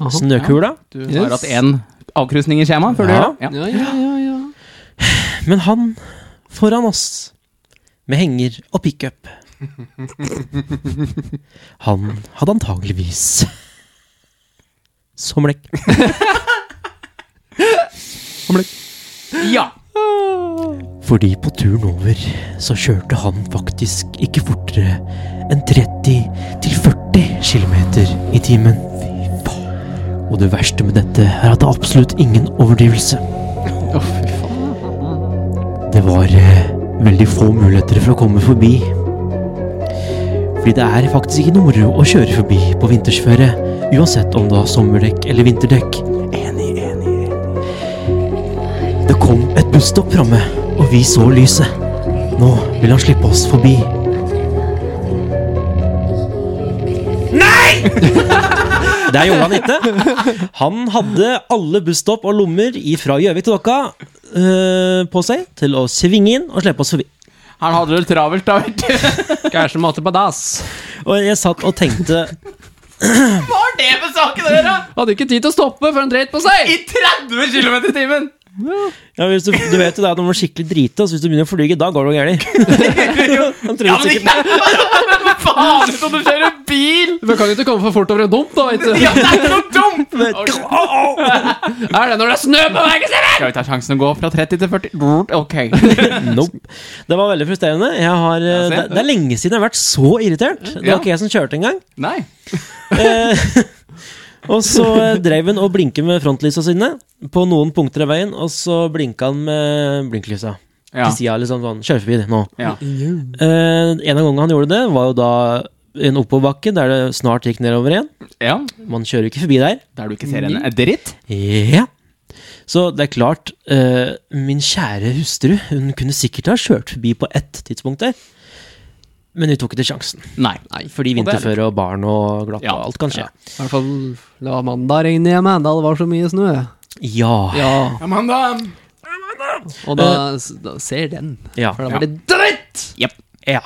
Speaker 3: Aha.
Speaker 2: Sånn snøkula.
Speaker 1: Du
Speaker 3: Yes.
Speaker 1: har hatt én avkrysning i skjemaet før du
Speaker 2: Ja.
Speaker 1: gjør det?
Speaker 3: Ja, ja, ja, ja.
Speaker 2: Men han foran oss, med henger og pickup Han hadde antageligvis somlekk.
Speaker 1: Ja.
Speaker 2: Fordi på turen over så kjørte han faktisk ikke fortere enn 30 til 40 km i timen. Og det verste med dette er at det er absolutt ingen overdrivelse.
Speaker 3: Å, fy faen.
Speaker 2: Det var eh, veldig få muligheter for å komme forbi. Fordi det er faktisk ikke noe moro å kjøre forbi på vintersføre, uansett om du har sommerdekk eller vinterdekk. Enig, enig, enig. Det kom et busstopp framme, og vi så lyset. Nå vil han slippe oss forbi. Nei! Det er Johan Hitte. Han hadde alle busstopp og lommer fra Gjøvik til Dokka eh, på seg til å svinge inn og slippe oss forbi.
Speaker 1: Han hadde det vel travelt, da, vet du.
Speaker 3: Kanskje måte på dass.
Speaker 2: Og jeg satt og tenkte
Speaker 1: Hva har det med saken å gjøre?
Speaker 3: Hadde ikke tid til å stoppe før han dreit på seg!
Speaker 1: I 30 km i timen!
Speaker 2: ja, hvis du, du vet jo det at når man er skikkelig drite, så hvis du begynner å flyge, da går det gærent. Han
Speaker 1: Ja,
Speaker 2: trodde
Speaker 1: men
Speaker 2: sikkert
Speaker 1: ikke Hva faen som du kjører bil?!
Speaker 3: Men kan du ikke komme for fort over en dump, da? Vet
Speaker 1: Ja,
Speaker 3: du?
Speaker 1: det er ikke noe dumt!
Speaker 3: Er det når det er snø på veien?
Speaker 1: Skal vi ta sjansen å gå fra 30 til 40? Brrrt, Ok.
Speaker 2: Nope. Det var veldig frustrerende. Jeg har, eh,
Speaker 1: se.
Speaker 2: det, det er lenge siden jeg har vært så irritert. Det
Speaker 1: Ja.
Speaker 2: var ikke jeg som kjørte engang.
Speaker 1: Nei.
Speaker 2: Eh, og så eh, dreiv han og blinket med frontlysa sine på noen punkter av veien, og så blinka han med blinklysa.
Speaker 1: Ja.
Speaker 2: Til sida, liksom sånn. Kjør forbi nå.
Speaker 1: ja.
Speaker 2: Eh, en av gangene han gjorde det, var jo da en oppoverbakke der det snart gikk nedover igjen.
Speaker 1: ja.
Speaker 2: Man kjører jo ikke forbi der.
Speaker 1: Der du ikke ser henne. Er dritt?
Speaker 2: Ja. Så det er klart, eh, min kjære hustru, hun kunne sikkert ha kjørt forbi på ett tidspunkt der. Men vi tok ikke sjansen,
Speaker 1: Nei.
Speaker 2: fordi
Speaker 1: Og det er
Speaker 2: vinterføre og barn og glatt
Speaker 1: Ja.
Speaker 2: og alt kan skje.
Speaker 3: I hvert fall la mandag regne hjemme. Da det var så mye snø.
Speaker 2: Ja.
Speaker 3: Ja,
Speaker 1: Amanda!
Speaker 3: og da, da ser den.
Speaker 2: Ja.
Speaker 3: For da
Speaker 1: Ja.
Speaker 3: blir det dritt!
Speaker 1: Jepp.
Speaker 2: ja.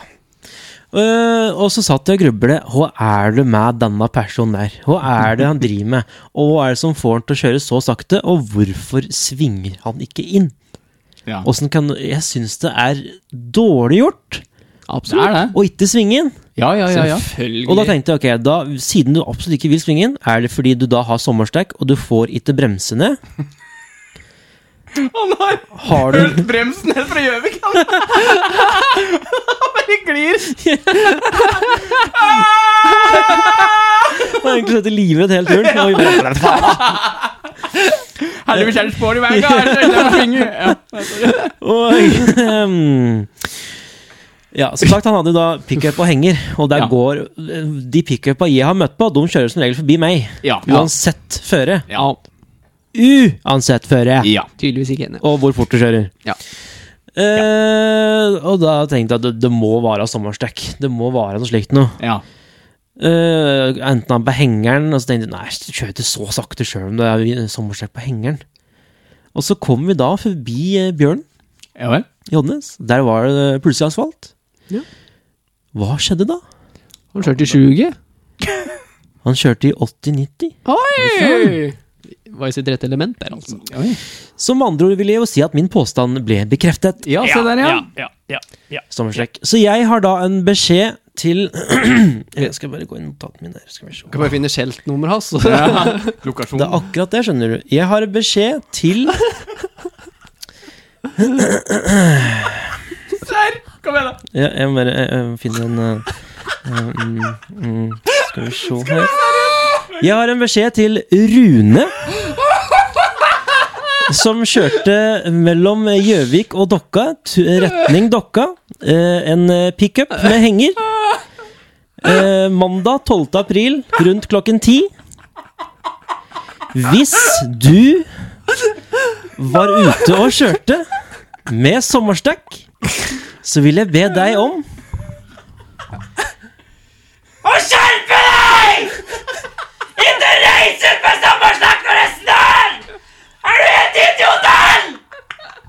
Speaker 2: Eh, og så satt jeg og grublet. Hva er det med denne personen der? Hva er det han driver med? Og hva er det som får han til å kjøre så sakte? Og hvorfor svinger han ikke inn?
Speaker 1: Ja.
Speaker 2: Hvordan kan, jeg syns det er dårlig gjort
Speaker 1: Det er det.
Speaker 2: å ikke svinge inn.
Speaker 1: Ja, ja, ja. ja.
Speaker 3: Selvfølgelig.
Speaker 2: Og da tenkte jeg, ok, da, siden du absolutt ikke vil svinge inn, er det fordi du da har sommerstek, og du får ikke bremse ned?
Speaker 1: Han har
Speaker 2: Har du
Speaker 1: bremsen helt fra Gjøvik, han! Han bare glir.
Speaker 2: Du har egentlig sittet livredd hele turen? Og,
Speaker 1: Heldigvis er det spår i veien, da. Ellers er det ikke noe å svinge. Ja.
Speaker 2: og, ehm, ja, som sagt, han hadde jo da pickup og henger, og der
Speaker 1: Ja.
Speaker 2: går De pickupa jeg har møtt på, de kjører som regel forbi meg.
Speaker 1: Ja.
Speaker 2: Uansett føre.
Speaker 1: Ja.
Speaker 2: Uansett føre!
Speaker 1: ja.
Speaker 3: Tydeligvis ikke enig.
Speaker 2: Og hvor fort du kjører.
Speaker 3: Ja.
Speaker 2: Eh, og da tenkte jeg at det, det må være sommerstek. Det må være noe slikt noe.
Speaker 1: ja.
Speaker 2: Eh, enten han på hengeren, og så tenkte jeg nei, jeg kjører ikke så sakte sjøl om det er sommerstrekk på hengeren. Og så kom vi da forbi eh, Bjørn
Speaker 1: Ja vel.
Speaker 2: i Hodnes. Der var det eh, plutselig asfalt.
Speaker 3: Ja.
Speaker 2: Hva skjedde da?
Speaker 3: Han kjørte i 20.
Speaker 2: Han kjørte i 80-90.
Speaker 3: Oi! Var i sitt rette element der, altså.
Speaker 2: Som med andre ord vil jeg jo si at min påstand ble bekreftet.
Speaker 3: Ja, se der, ja.
Speaker 2: Sommerstrekk. Så jeg har da en beskjed til Jeg skal bare gå inn i notatene mine. her, Skal vi se.
Speaker 3: Kan bare finne skjeltnummeret hans.
Speaker 1: Lokasjon.
Speaker 2: Det er akkurat det, skjønner du. Jeg har beskjed til
Speaker 1: Der! Kom igjen, da.
Speaker 2: Ja, jeg må bare eh, eh, finne en eh, eh, mm, mm, Skal vi se her Jeg har en beskjed til Rune. Som kjørte mellom Gjøvik og Dokka, tu- retning Dokka. eh, En eh, pickup med henger. Eh, Mandag 12. april rundt klokken ti. Hvis du var ute og kjørte med sommerstekk så vil jeg be deg om
Speaker 5: Og skjerpe deg! Ikke reis ut med sommersnakk når det snør! Er du helt idiot, Erl?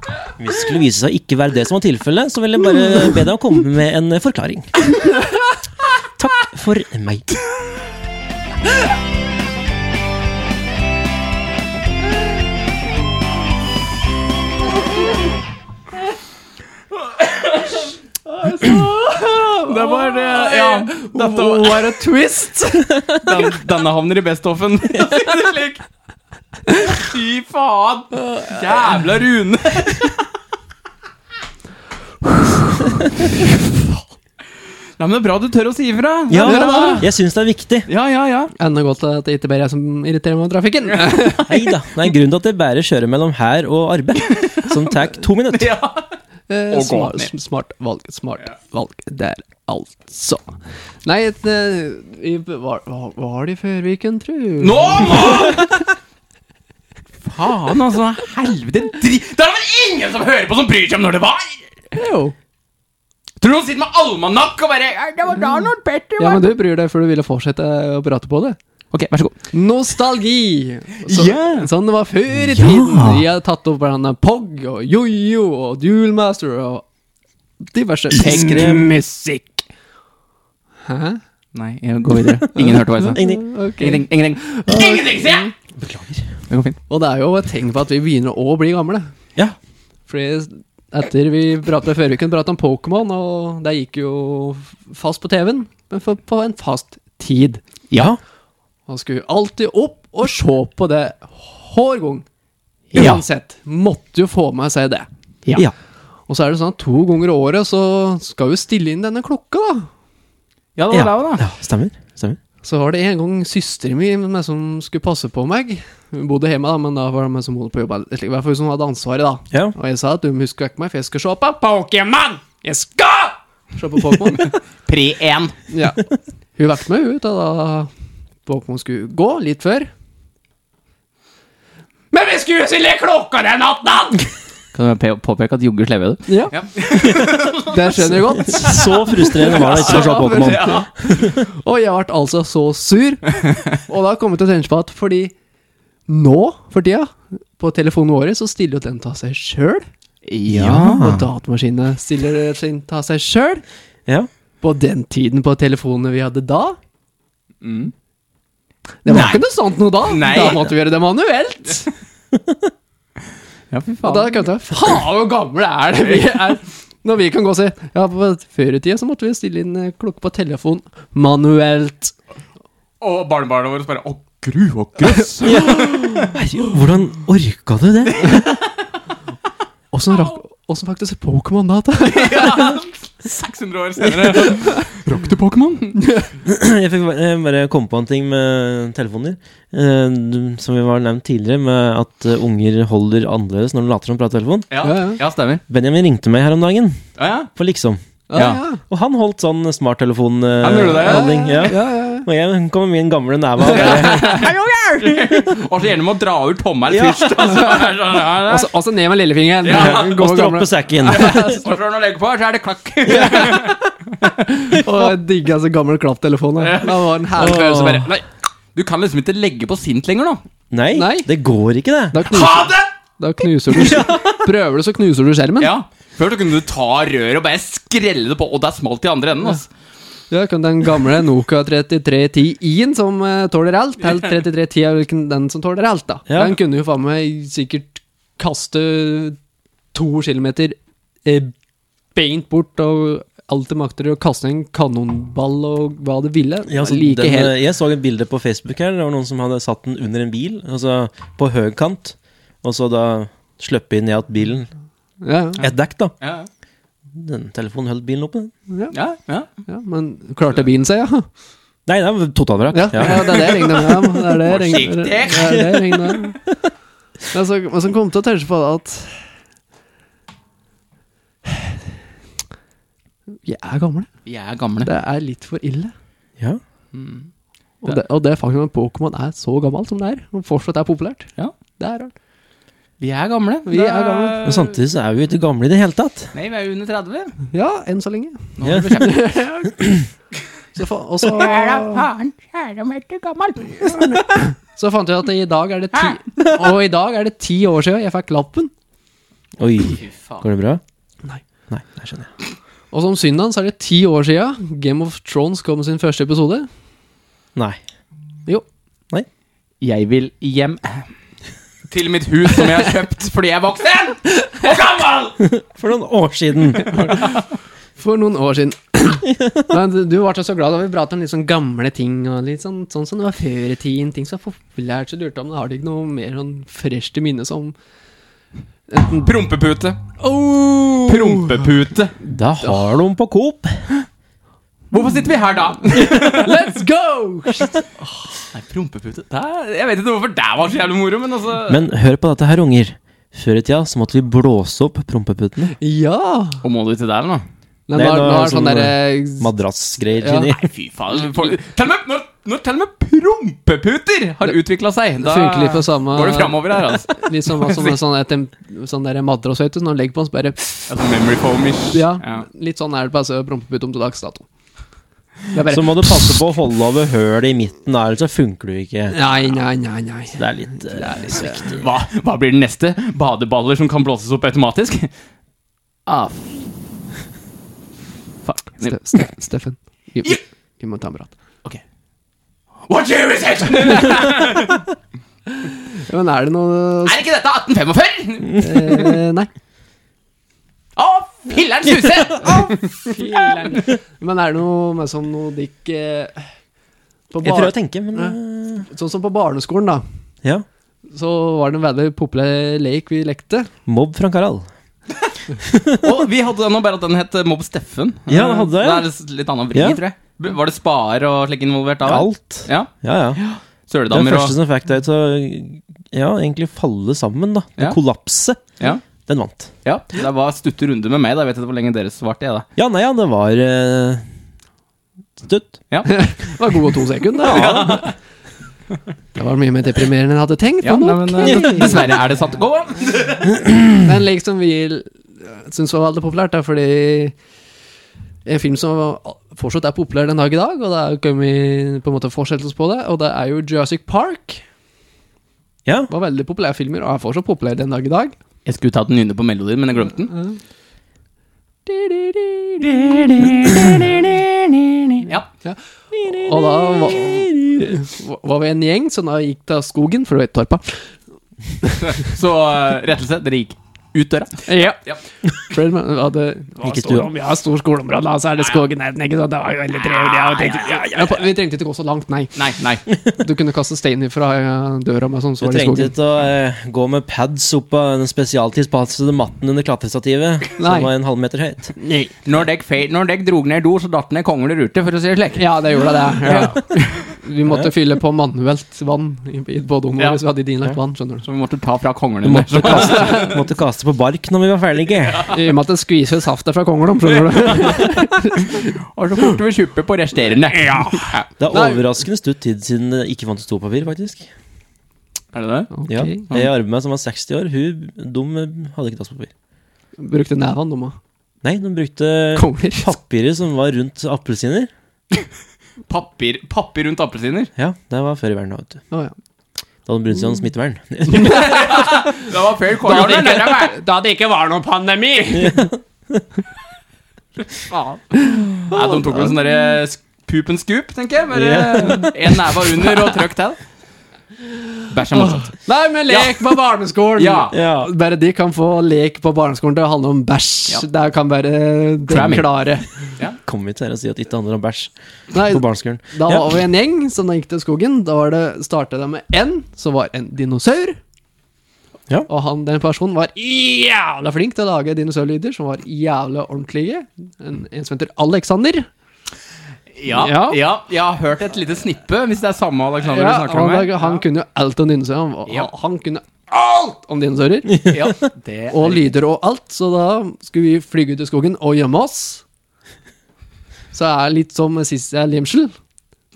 Speaker 2: Hvis det skulle vise seg å ikke være det som var tilfellet, så vil jeg bare be deg om å komme med en forklaring. Takk for meg.
Speaker 1: Det var det. Ja. Dette var,
Speaker 3: var et twist!
Speaker 1: den, denne havner i bestoffen. Slik. Fy faen! Jævla Rune! Nei, men Det er bra du tør å si ifra.
Speaker 2: Ja,
Speaker 1: det er bra.
Speaker 2: jeg syns det er viktig.
Speaker 1: ja, ja. ja.
Speaker 3: Enda godt at det ikke bare er jeg som irriterer meg om trafikken.
Speaker 2: Nei da. Det er en grunn til at jeg bare kjører mellom her og arbeid, som tar to minutter.
Speaker 1: ja.
Speaker 3: Eh,
Speaker 1: Og gå
Speaker 3: smart,
Speaker 1: ned.
Speaker 3: smart valg, smart valg der, altså. Nei, et, eh, vi- hva hva var det i Førviken, tru?
Speaker 1: Nå må Faen, altså. Helvete dri... Det er det vel ingen som hører på som bryr seg om når det var!
Speaker 3: Jo.
Speaker 1: Tror du han sitter med almanakk og bare «Ja, Det var da når Petter
Speaker 3: Ja,
Speaker 1: var
Speaker 3: men du bryr deg før du ville fortsette å prate på det.
Speaker 1: Å Ok, vær så god.
Speaker 3: Nostalgi! Så,
Speaker 1: Ja.
Speaker 3: Sånn det var før i
Speaker 2: Ja.
Speaker 3: tiden. Vi har tatt opp hverandre Pog og jojo og Duelmaster og diverse musikk. Hæ?
Speaker 1: Nei, jeg går videre. Ingen hørte hva jeg sa.
Speaker 2: Ingenting.
Speaker 3: Ok.
Speaker 1: Ingenting. Ingenting, Ingenting, sier jeg! Det går fint.
Speaker 3: Og det er jo et tegn på at vi begynner å bli gamle.
Speaker 2: Ja.
Speaker 3: Fordi etter vi pratet før vi kunne prate om Pokémon, og det gikk jo fast på TV-en, men for, på en fast tid.
Speaker 2: Ja.
Speaker 3: Man skulle alltid opp og se på det hver gang.
Speaker 2: Ja.
Speaker 3: Uansett. Måtte jo få med seg det.
Speaker 2: Ja.
Speaker 3: Og så er det sånn at to ganger i året så skal vi stille inn denne klokka, da.
Speaker 1: Ja, det var det også, da.
Speaker 2: ja. Stemmer. Stemmer.
Speaker 3: Så var det en gang søsteren min som skulle passe på meg. Hun bodde hjemme, da, men da var det meg som bodde på jobb. eller slik, I hvert fall hun som hadde ansvaret, da.
Speaker 2: Ja.
Speaker 3: Og jeg sa at du må huske å vekke meg, for jeg skal se på Pokémon! Jeg skal se på Pokémon.
Speaker 1: Pre 1.
Speaker 3: ja. Hun vekket meg ut, og da Pokémon skulle gå litt før.
Speaker 5: Men vi skulle jo stille klokka den natten!
Speaker 1: Kan du pe- påpeke at Jogge Sleve er du?
Speaker 3: Ja. det skjønner jeg godt.
Speaker 2: Så frustrerende var det ikke å se Pokémon.
Speaker 3: Og jeg ble altså så sur. Og da kom jeg til å tenke på at fordi nå for tida, på telefonen vår, så stiller jo den ta seg sjøl. Og datamaskinene stiller sin ta seg sjøl.
Speaker 2: Ja.
Speaker 3: På den tiden på telefonene vi hadde da. Det var ikke noe sånt noe da.
Speaker 1: Nei.
Speaker 3: Da måtte vi gjøre det manuelt.
Speaker 1: Ja, fy
Speaker 3: Og da kan jeg tenke, faen hvor gamle er det vi er. Når vi kan gå og si Ja, på før i tida så måtte vi stille inn eh, klokke på telefon manuelt.
Speaker 1: Og barnebarna våre bare Å, gru og grøss!
Speaker 2: Herregud, hvordan orka du det?
Speaker 3: Åssen rakk Åssen fikk du se Pokémon da? da?
Speaker 1: 600 år senere. Rakk du Pokémon?
Speaker 2: Jeg fikk bare- jeg bare komme på en ting med telefoner. eh, du- Som vi var nevnt tidligere, med at eh, unger holder annerledes når de later som de prater telefon.
Speaker 1: Ja,
Speaker 3: Ja, ja.
Speaker 1: ja, stemmer.
Speaker 2: Benjamin ringte meg her om dagen,
Speaker 1: Ja, ja.
Speaker 2: på liksom.
Speaker 1: Ja.
Speaker 2: Og han holdt sånn
Speaker 1: Han gjorde det, ja.
Speaker 2: smarttelefonhandling. Ja,
Speaker 3: Ja, ja, ja.
Speaker 2: Og jeg kom med min gamle næve og bare
Speaker 1: Og så gjerne med å dra ut tommelen først. Og så er det sånn, ja, ja.
Speaker 3: Og så- Og så Altså, ned med lillefingeren.
Speaker 1: Ja,
Speaker 3: Gå,
Speaker 2: Og
Speaker 3: gamle.
Speaker 2: stroppe sekken.
Speaker 1: Og så når du legger på, så er det klakk.
Speaker 3: Og jeg digga så gammel klapptelefon. da. Det var en herlig følelse. Bare.
Speaker 1: Nei, du kan liksom ikke legge på sint lenger nå.
Speaker 2: Nei,
Speaker 3: Nei.
Speaker 2: det går ikke, det.
Speaker 3: Da knuser, da knuser du Prøver du, så knuser du skjermen.
Speaker 1: Ja. Før så kunne du ta røret og bare skrelle det på, og det er smalt i andre enden. Altså.
Speaker 3: Ja, kan den gamle Nokia 3310i-en som eh, tåler alt. Eller 3310 er vel ikke den som tåler alt, da.
Speaker 2: Ja.
Speaker 3: Den kunne jo faen meg sikkert kaste to kilometer eh, beint bort og alt det makter, og kaste en kanonball og hva det ville.
Speaker 2: Ja, altså,
Speaker 3: like
Speaker 2: den,
Speaker 3: hel.
Speaker 2: eh, jeg så et bilde på Facebook her. Det var noen som hadde satt den under en bil, altså på høykant, og så da sluppet inn at bilen
Speaker 3: Ja, ja.
Speaker 2: Et dekk, da.
Speaker 1: Ja,
Speaker 2: Den telefonen holdt bilen oppe. den.
Speaker 1: ja, ja.
Speaker 3: Ja, men klarte bilen seg, ja?
Speaker 2: Nei, det var totalvrak.
Speaker 3: Ja, ja.
Speaker 2: Ja.
Speaker 3: det er det jeg regner med. ja. Det er det jeg regner
Speaker 1: Forsiktig.
Speaker 3: det er det jeg regner med. Men så, men så kom jeg til å tenke på det at Vi er gamle.
Speaker 1: Vi er gamle.
Speaker 3: Det er litt for ille.
Speaker 2: Ja.
Speaker 3: Og det, og det faktum at Pokémon er så gammelt som det er, og fortsatt er populært,
Speaker 1: Ja.
Speaker 3: det er rart.
Speaker 1: Vi er gamle.
Speaker 3: Vi er gamle.
Speaker 2: Men samtidig så er vi jo ikke gamle i det hele tatt.
Speaker 1: Nei, vi er under 30.
Speaker 3: Ja, enn så lenge.
Speaker 1: Nå har vi beskjeftet.
Speaker 3: Så, fa og så,
Speaker 5: Faen, kjære meg til gammel.
Speaker 3: så fant jeg at i dag er det ti Og i dag er det ti år siden jeg fikk lappen.
Speaker 2: Oi.
Speaker 1: Fy faen.
Speaker 2: Går det bra?
Speaker 3: Nei.
Speaker 2: Nei, det skjønner jeg.
Speaker 3: Og som synden så er det ti år siden Game of Thrones kom med sin første episode.
Speaker 2: Nei.
Speaker 3: Jo.
Speaker 1: Jeg vil hjem. Til mitt hus som jeg har kjøpt fordi jeg er voksen! Og gammel!
Speaker 2: For noen år siden.
Speaker 3: For noen år siden. Men du- du ble så glad da vi pratet om litt sånn gamle ting, og litt sånn, sånn som det var før i tiden, ting som var populært, så lurte jeg om det har du ikke noe mer sånn fresht i minne som enten
Speaker 1: Prompepute.
Speaker 3: oh!
Speaker 1: Prompepute.
Speaker 2: Da har de på Coop.
Speaker 1: Hvorfor sitter vi her da?
Speaker 3: Let's go!
Speaker 1: Nei, prompepute det er, Jeg vet ikke hvorfor det var så jævlig moro, men altså
Speaker 2: Men hør på dette her, unger. Før i tida så måtte vi blåse opp prompeputene.
Speaker 3: Ja!
Speaker 1: Og må du til der, nå?
Speaker 3: Nei,
Speaker 2: Nei,
Speaker 3: nå, er-
Speaker 2: nå er
Speaker 3: nå er
Speaker 2: det
Speaker 3: det sånn
Speaker 2: sånn
Speaker 3: derre
Speaker 2: Madrassgreier
Speaker 3: Ja.
Speaker 2: inni.
Speaker 1: Nei, fy faen. Folk, til og med, når, når til og med prompeputer har utvikla seg, da
Speaker 3: Funker litt på samme
Speaker 1: går det framover her, altså.
Speaker 3: Litt sånn hva som er sånn, et, sånn derre madrass, vet du, som de legger på og så bare
Speaker 1: altså memory foam-ish.
Speaker 3: altså, ja, Litt sånn er det bare å prompepute om til dags dato. Det er
Speaker 2: Så
Speaker 3: bare
Speaker 2: må du passe på å holde over hølet i midten, da, ellers så funker du ikke.
Speaker 3: Nei, nei, nei. nei.
Speaker 2: Det er litt, eh, viktig.
Speaker 1: Hva, hva blir den neste? Badeballer som kan blåses opp automatisk?
Speaker 3: Ah,
Speaker 1: Fuck.
Speaker 3: Ste Ste Steffen, vi, vi, vi må ta en prat.
Speaker 1: Ok. What year is it?
Speaker 3: Ja, men er det noe
Speaker 1: Er ikke dette 1845?
Speaker 3: eh, Nei.
Speaker 1: Å, filler'n suse!
Speaker 3: Men er det noe med sånn noe dikk eh, på
Speaker 2: Jeg
Speaker 3: bar
Speaker 2: prøver å tenke, men eh,
Speaker 3: Sånn som på barneskolen, da.
Speaker 2: ja.
Speaker 3: Så var det en veldig populær lek vi lekte.
Speaker 2: Mobb Frank Harald.
Speaker 1: Og vi hadde den, og bare at den het Mobb Steffen.
Speaker 2: Ja, den hadde det, ja.
Speaker 1: Det er litt annen vri,
Speaker 2: Ja.
Speaker 1: tror jeg. B- Var det spaer og slik involvert da? vel?
Speaker 2: Alt.
Speaker 1: Ja.
Speaker 2: Ja, ja. Det
Speaker 1: Søledammer og
Speaker 2: første som fikk deg til å ja, egentlig falle sammen, da.
Speaker 1: Ja.
Speaker 2: Kollapse.
Speaker 1: ja.
Speaker 2: Den vant.
Speaker 1: ja. Det var stutte runde med meg, da. Jeg vet ikke hvor lenge dere svarte, jeg, da.
Speaker 2: Ja, nei, ja, det var eh, stutt.
Speaker 3: Det var gode to sekunder. Ja. Det var mye mer deprimerende enn jeg hadde tenkt.
Speaker 1: Ja,
Speaker 3: men
Speaker 1: nei,
Speaker 3: nok.
Speaker 1: men eh, dessverre er det sant. Gå!
Speaker 3: Det er en lek som liksom, vi syns var veldig populært, da, fordi en film som fortsatt er populær den dag i dag, og det er jo kommet på en måte fortsettelse på det, og det er jo Jurassic Park.
Speaker 2: Ja.
Speaker 3: Det var veldig populære filmer, og er fortsatt populær den dag i dag.
Speaker 1: Jeg skulle tatt den under på melodien, men jeg glemte den. Ja.
Speaker 3: Og da var, var vi en gjeng som da gikk til skogen, for du vet Torpa.
Speaker 1: Så eh, rettelse, dere gikk ut døra. Ja.
Speaker 3: For det var- det var
Speaker 2: Gikk i
Speaker 3: stor,
Speaker 2: stua.
Speaker 3: vi har stor skoleområde, da, så er det skogen her. Ikke sant? Det var jo veldig trevelig. og tenkte, ja, ja, ja. Vi trengte ikke gå så langt, nei.
Speaker 1: Nei, nei.
Speaker 3: Du kunne kaste stein fra eh, døra med sånn,
Speaker 2: Du
Speaker 3: så var det
Speaker 2: trengte
Speaker 3: skogen.
Speaker 2: ikke å eh, gå med pads opp av den spesialtilpassede matten under klatrestativet,
Speaker 3: Nei.
Speaker 2: som var en halvmeter høyt.
Speaker 3: Nei.
Speaker 1: Når deg, fe- når deg drog ned i do, så datt ned kongler ute, for å si det slik.
Speaker 3: Ja, det gjorde det. Ja. Vi måtte fylle på manuelt vann i, i båtungen
Speaker 1: Ja.
Speaker 3: hvis vi hadde dinlagt vann, skjønner du.
Speaker 1: Så sånn. vi måtte ta fra konglene.
Speaker 2: Du måtte kaste, måtte kaste på bark når vi var ferdige.
Speaker 3: I og med at det skviser saftet fra kongelom, skjønner du.
Speaker 1: Og så korte vi kjuppe på resterende. Ja.
Speaker 2: Det er
Speaker 3: Nei.
Speaker 2: overraskende stutt tid siden det ikke fantes dopapir, faktisk.
Speaker 1: Er det det?
Speaker 2: Ja,
Speaker 3: Ok.
Speaker 2: Ei arme som var 60 år, hun dum eh, hadde ikke dasspapir.
Speaker 3: Brukte nevene, de òg.
Speaker 2: Nei, de brukte
Speaker 3: Kongler.
Speaker 2: papiret som var rundt appelsiner.
Speaker 1: Papir, papir rundt appelsiner.
Speaker 2: Ja, det var før i verden, da, vet du.
Speaker 3: Å, ja.
Speaker 2: Da hadde de brukt seg om smittevern.
Speaker 1: Det var før kongler.
Speaker 3: da det ikke var noen pandemi!
Speaker 1: Nei, de tok vel sånn derre sk- poop and scoop, tenker jeg. Bare en neve under og trykk til. Bæsja motsatt.
Speaker 3: Nei, men lek på barneskolen!
Speaker 1: Ja.
Speaker 2: ja.
Speaker 3: Bare de kan få lek på barneskolen til å handle om bæsj.
Speaker 1: Ja.
Speaker 3: Det kan bare de
Speaker 1: Cramming.
Speaker 3: klare.
Speaker 2: Kommer vi til her og si at det ikke handler om bæsj
Speaker 3: Nei,
Speaker 2: på barneskolen?
Speaker 3: da
Speaker 2: Ja.
Speaker 3: var vi en gjeng som da gikk til skogen. Da var det, startet det med N, som var en dinosaur.
Speaker 2: Ja.
Speaker 3: Og han, den personen var jævla flink til å lage dinosaurlyder, som var jævla ordentlige. En, en som heter Alexander.
Speaker 1: Ja,
Speaker 3: Ja.
Speaker 1: ja, jeg har hørt et lite snippe, hvis det er samme Alexander
Speaker 3: Ja,
Speaker 1: du snakker
Speaker 3: han,
Speaker 1: om her.
Speaker 3: lag- han kunne jo alt om dinosaurer. Han,
Speaker 1: Ja.
Speaker 3: han, han kunne alt om dinosaurer.
Speaker 1: Ja, det er
Speaker 3: Og lyder og alt, så da skulle vi flyge ut i skogen og gjemme oss. Så jeg er litt som sist jeg er limsel.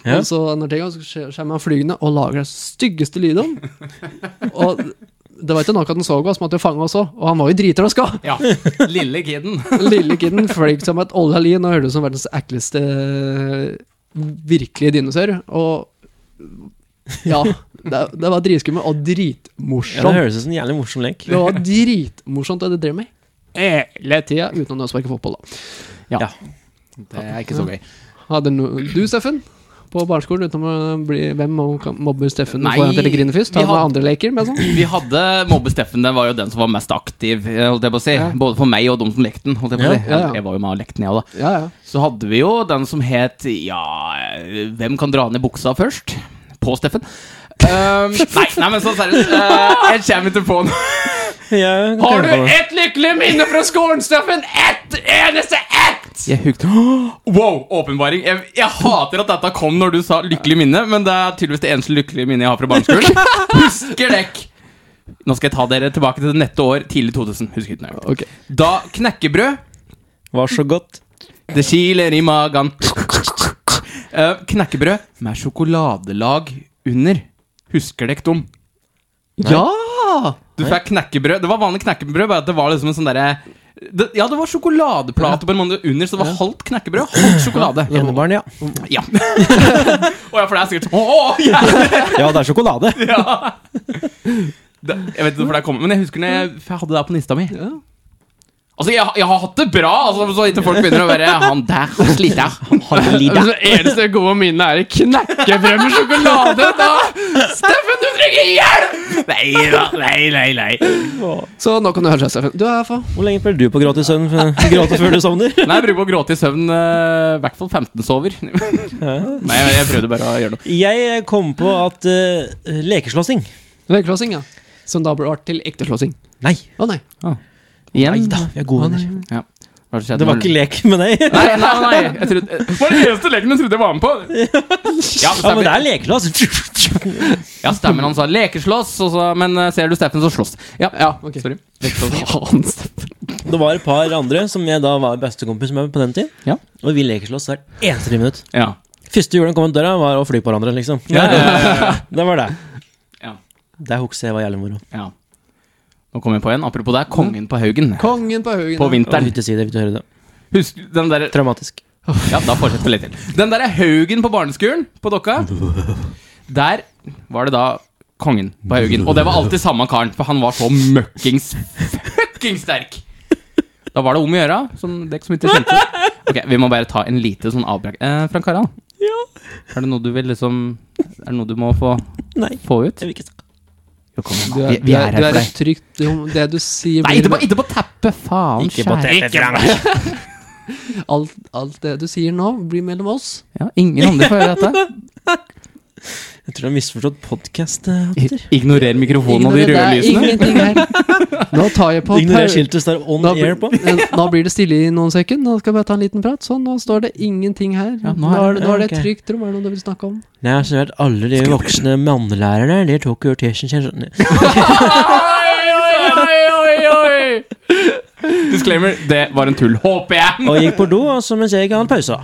Speaker 2: Ja.
Speaker 3: Og så når det går, så skje- kommer han flygende og lager det styggeste lyd om. og det var ikke nok at han så oss, måtte jo fange oss òg. Og han var jo dritrøsk òg.
Speaker 1: Ja, lille kiden.
Speaker 3: Lille kiden fløy som et olja lin og hørtes ut som verdens ekleste virkelige dinosaur. Og ja, det, det var dritskummelt og
Speaker 2: Ja, det
Speaker 3: dritmorsomt.
Speaker 2: høres ut som en jævlig morsom lek.
Speaker 3: Det var dritmorsomt, og det drev meg hele tida, utenom å sparke fotball, da.
Speaker 1: Det er ikke så gøy.
Speaker 3: Hadde no du, Steffen, på barneskolen, utenom å bli hvem og kan- mobber Steffen
Speaker 1: Nei,
Speaker 3: foran til å grine først?
Speaker 1: vi
Speaker 3: Hadde du
Speaker 1: had-
Speaker 3: andre leker med sånn?
Speaker 1: Vi hadde Mobbe Steffen, den var jo den som var mest aktiv, eh, holdt jeg på å si. Både for meg og de som lekte den. holdt Jeg på å si.
Speaker 3: Ja, ja, ja.
Speaker 1: Jeg var jo med og lekte den, jeg òg, da.
Speaker 3: Ja, ja.
Speaker 1: Så hadde vi jo den som het Ja, hvem kan dra ned buksa først? På Steffen. Ehm, nei, nei, men så seriøst. eh, jeg kommer ikke på noe.
Speaker 2: Ja, jeg kan
Speaker 3: Har
Speaker 2: tenke
Speaker 3: du
Speaker 2: på det.
Speaker 3: ett lykkelig minne fra skolen, Steffen? Ett eneste ett!
Speaker 1: Jeg hugde Wow, åpenbaring. Jeg, jeg hater at dette kom når du sa 'lykkelig minne', men det er tydeligvis det eneste lykkelige minnet jeg har fra barneskolen. Husker dekk! Nå skal jeg ta dere tilbake til det nette år, tidlig 2000. Husker ikke nøyaktig.
Speaker 3: Ok.
Speaker 1: Da knekkebrød
Speaker 2: Var så godt.
Speaker 1: Det kiler i magen. Eh, knekkebrød med sjokoladelag under. Husker dere dem?
Speaker 3: Ja! Ja!
Speaker 1: Du fikk knekkebrød. Det var vanlig knekkebrød, bare at det var liksom en sånn derre det, Ja, det var sjokoladeplate på en måte under, så det var halvt knekkebrød, halvt sjokolade.
Speaker 2: Enebarn, ja.
Speaker 1: Ja. Å ja, for det er sikkert sånn, Åh, åh, ja.
Speaker 2: Ja, det er sjokolade.
Speaker 1: ja. Det, jeg vet ikke hvorfor det kommer, men jeg husker når jeg, for jeg hadde det på lista mi. Altså, jeg, jeg har hatt det bra, altså, så ikke folk begynner å være Han der han sliter. Han har lidd.
Speaker 3: Det eneste gode minnet er knekkebrød med sjokolade! da
Speaker 1: Steffen, du trenger hjelp! Nei da, nei, nei, nei.
Speaker 3: Så nå kan du høre seg, Steffen. Du er for
Speaker 2: Hvor lenge pleier du på gratis søvn gratis før du sovner?
Speaker 1: Nei, jeg bruker å gråte i søvn, eh, i hvert fall 15 sover. Nei, jeg, jeg prøvde bare å gjøre noe.
Speaker 2: Jeg kom på at eh, lekeslåssing
Speaker 3: Vekkslåssing, ja. Som da ble til ekteslåssing.
Speaker 2: Nei.
Speaker 3: Å nei.
Speaker 1: Igjen?
Speaker 2: Neida, vi er gode venner.
Speaker 1: Ja. Hva er skjedde
Speaker 2: Det var
Speaker 1: nå?
Speaker 2: ikke lek med deg.
Speaker 1: Nei, nei, nei. Jeg trodde, det var den eneste leken jeg trodde jeg var med på. Ja,
Speaker 2: Ja, men det er lekeslåss.
Speaker 1: Ja, stemmer. Han sa 'lekeslåss', og så, men eh, ser du Steffen, så slåss. Ja, ja
Speaker 3: ok.
Speaker 1: sorry.
Speaker 3: Faen, Steffen.
Speaker 2: Det var et par andre som jeg da var bestekompis med på den tid.
Speaker 1: Ja.
Speaker 2: Og vi lekeslåss hvert eneste friminutt.
Speaker 1: Ja.
Speaker 2: Første julen kom ut døra, var å fly på hverandre, liksom.
Speaker 1: Ja, ja, ja, ja,
Speaker 2: Det var det.
Speaker 1: Ja.
Speaker 2: Det husker jeg var jævlig moro.
Speaker 1: ja. Nå kom jeg på en. Apropos det, kongen på Haugen.
Speaker 3: Kongen på haugen.
Speaker 1: På
Speaker 2: Jeg
Speaker 1: vinteren.
Speaker 2: vil ikke si det, jeg vil ikke høre det.
Speaker 1: Husk den derre
Speaker 2: Traumatisk.
Speaker 1: Ja, da fortsetter vi litt til. Den derre Haugen på barneskolen på Dokka, der var det da kongen på Haugen. Og det var alltid samme karen, for han var så møkkings fuckings sterk. Da var det om å gjøre, som dere som ikke kjente. Ok, Vi må bare ta en lite sånn avbrekk. Eh, Frank Harald,
Speaker 2: Ja.
Speaker 1: er det noe du vil liksom Er det noe du må få,
Speaker 2: Nei.
Speaker 1: få ut?
Speaker 2: Jeg vil ikke snakke.
Speaker 1: Jo, kom igjen,
Speaker 3: Du
Speaker 1: da.
Speaker 3: er,
Speaker 1: vi, vi er
Speaker 3: du
Speaker 1: her
Speaker 3: er
Speaker 1: for
Speaker 3: et
Speaker 1: deg.
Speaker 3: trygt rom. Det du sier
Speaker 1: Nei,
Speaker 3: blir-
Speaker 1: ikke på, ikke på teppet! Faen,
Speaker 2: Ikke på
Speaker 1: skjære.
Speaker 2: teppet, Frank.
Speaker 3: alt, alt det du sier nå, blir mellom oss.
Speaker 1: Ja, ingen andre får høre dette.
Speaker 2: Jeg tror du har misforstått podkast, Hunter.
Speaker 1: Ignorer mikrofonen og de
Speaker 3: Ignorer
Speaker 1: røde
Speaker 3: det,
Speaker 1: lysene.
Speaker 3: Ingenting her. Nå tar jeg på
Speaker 2: Ignorer
Speaker 3: pau-
Speaker 2: skiltet står on
Speaker 3: Da,
Speaker 2: air på.
Speaker 3: blir- nå blir det stille i noen sekunder. Nå skal jeg bare ta en liten prat. Sånn, nå står det ingenting her.
Speaker 1: Ja,
Speaker 3: nå, er, det- nå er det
Speaker 2: ok.
Speaker 3: et trygt rom. Er det noe du vil snakke om?
Speaker 2: Nei, altså, jeg vet, alle de voksne mannelærerne, de tok jo tesjen sin sånn
Speaker 1: Disclaimer, det var en tull. Håper jeg!
Speaker 2: Og gikk på do, og så mens jeg ikke hadde pausa.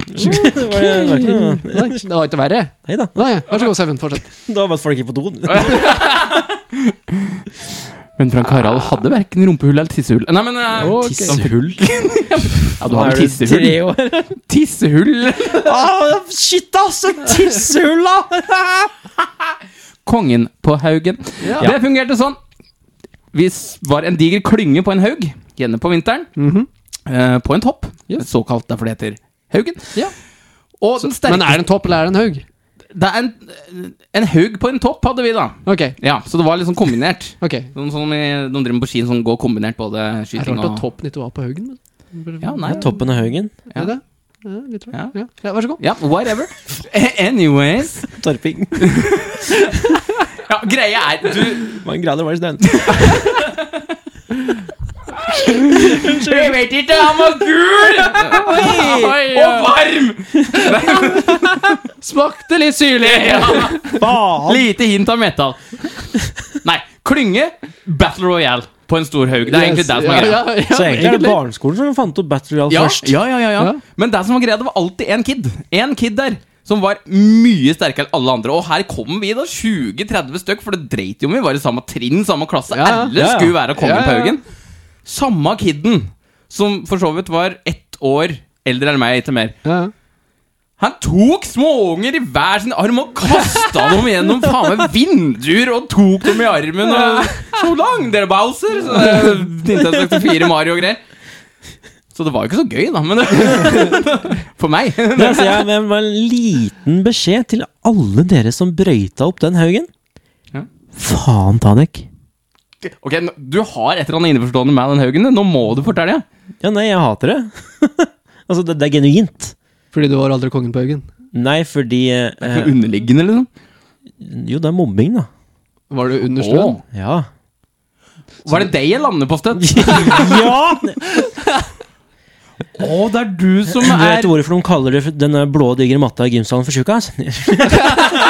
Speaker 2: Det var Eh, det var ikke noe
Speaker 3: Nei, det var ikke verre.
Speaker 2: Nei da.
Speaker 3: Nei, Vær så god, Seven. Fortsett.
Speaker 2: Da var folk ikke på doen.
Speaker 1: Men Frank Harald hadde verken rumpehull eller tissehull. Nei, men eh,
Speaker 3: Ok.
Speaker 2: Tissehull.
Speaker 1: Ja, du har
Speaker 2: Da
Speaker 1: jo
Speaker 2: er du
Speaker 1: tissehull.
Speaker 2: tre år.
Speaker 1: Tissehull!
Speaker 2: Ah, shit, ass! Tissehull, da!
Speaker 1: Kongen på Haugen. Det fungerte sånn. Vi s- var en diger klynge på en haug, gjerne på vinteren,
Speaker 3: Mhm.
Speaker 1: eh, på en topp. Såkalt derfor det heter Haugen.
Speaker 3: Ja.
Speaker 1: Og den
Speaker 3: Men er
Speaker 1: sterke
Speaker 3: det en topp, eller er det en haug?
Speaker 1: Det er en, en haug på en topp hadde vi, da.
Speaker 3: Ok.
Speaker 1: Ja, Så det var liksom kombinert.
Speaker 3: ok
Speaker 1: Noen som i- de driver med på ski, som går kombinert både
Speaker 3: Det er
Speaker 1: skyting
Speaker 3: rart at
Speaker 1: og
Speaker 3: toppen ikke var på haugen. Men.
Speaker 1: Ja, nei.
Speaker 2: Toppen av Haugen.
Speaker 1: Ja.
Speaker 3: Er det? Ja, litt rart.
Speaker 1: Ja.
Speaker 3: Ja. ja, vær så god.
Speaker 1: Ja, whatever. Anyways.
Speaker 2: Torping.
Speaker 1: Ja, greia er du
Speaker 2: Mange grader var det snøen?
Speaker 1: Jeg vet ikke, han var gul! Og varm!
Speaker 3: Smakte litt syrlig!
Speaker 1: Ja.
Speaker 2: Faen!
Speaker 1: Lite hint av metal. Nei, klynge Battle Royale på en stor haug. Det er egentlig det som er greia.
Speaker 3: Ja, ja, ja,
Speaker 2: Så egentlig er det
Speaker 3: egentlig.
Speaker 2: barneskolen som fant opp Battle Royale
Speaker 1: Ja,
Speaker 2: først.
Speaker 1: ja, ja, ja, ja.
Speaker 3: Ja.
Speaker 1: Men det som var greia, det var alltid én kid. En kid der. Som var mye sterkere enn alle andre. Og her kommer vi, da. 20-30 stykk. For det dreit jo om vi var i samme trinn, samme klasse.
Speaker 3: Ja, ja.
Speaker 1: Alle
Speaker 2: Ja, ja.
Speaker 1: skulle være kongen
Speaker 3: Ja, ja,
Speaker 1: på
Speaker 3: ja.
Speaker 1: Haugen. Samme kiden, som for så vidt var ett år eldre enn meg, ikke mer.
Speaker 3: Ja.
Speaker 1: Han tok småunger i hver sin arm og kasta dem gjennom faen meg vinduer og tok dem i armen. Og, så lang, dere Bowser! Så det er Nintendo 64 Mario og greier. Så det var jo ikke så gøy, da. Men det, for meg.
Speaker 2: Det er, så jeg, men bare en liten beskjed til alle dere som brøyta opp den haugen.
Speaker 1: Ja.
Speaker 2: Faen, Tanek.
Speaker 1: Ok, nå- Du har et eller annet innforstående med den Haugen. Nå må du fortelle.
Speaker 2: Ja, nei, jeg hater det. altså, det, det er genuint.
Speaker 3: Fordi du var aldri kongen på haugen.
Speaker 2: Nei, fordi eh,
Speaker 1: Noe underliggende, liksom.
Speaker 2: Jo, det er mobbing, da.
Speaker 3: Var du under strøm?
Speaker 1: Åh,
Speaker 2: Ja.
Speaker 1: var det deg jeg lander på støtt?
Speaker 2: ja!
Speaker 1: Å, det er du som
Speaker 2: Du vet
Speaker 1: er
Speaker 2: hvorfor de kaller det for- den der blå digre matta i gymsalen for altså. tjukkas?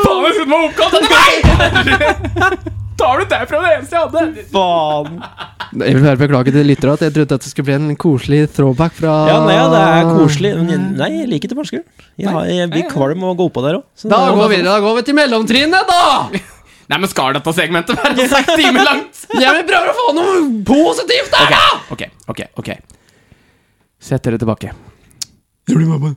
Speaker 1: Faen, jeg trodde den var oppkalt etter meg! Tar du det fra det eneste jeg hadde?
Speaker 2: Faen!
Speaker 3: Jeg vil bare beklage til lyttere at jeg trodde at det skulle bli en koselig throwback fra
Speaker 2: Ja, nei, ja, det er koselig. Men
Speaker 1: Ah,
Speaker 2: jeg, nei, jeg liker tilbakeskueren. Jeg, har- jeg blir kvalm av å gå oppå der òg.
Speaker 3: Da går, vi, da går vi til mellomtrinnet, da!
Speaker 1: Nei, men skal dette segmentet være seks timer langt?
Speaker 3: Jeg vil prøve å få noe positivt der, da!
Speaker 1: Ok, ok, ok. Sett dere tilbake.
Speaker 3: Jeg blir mamma.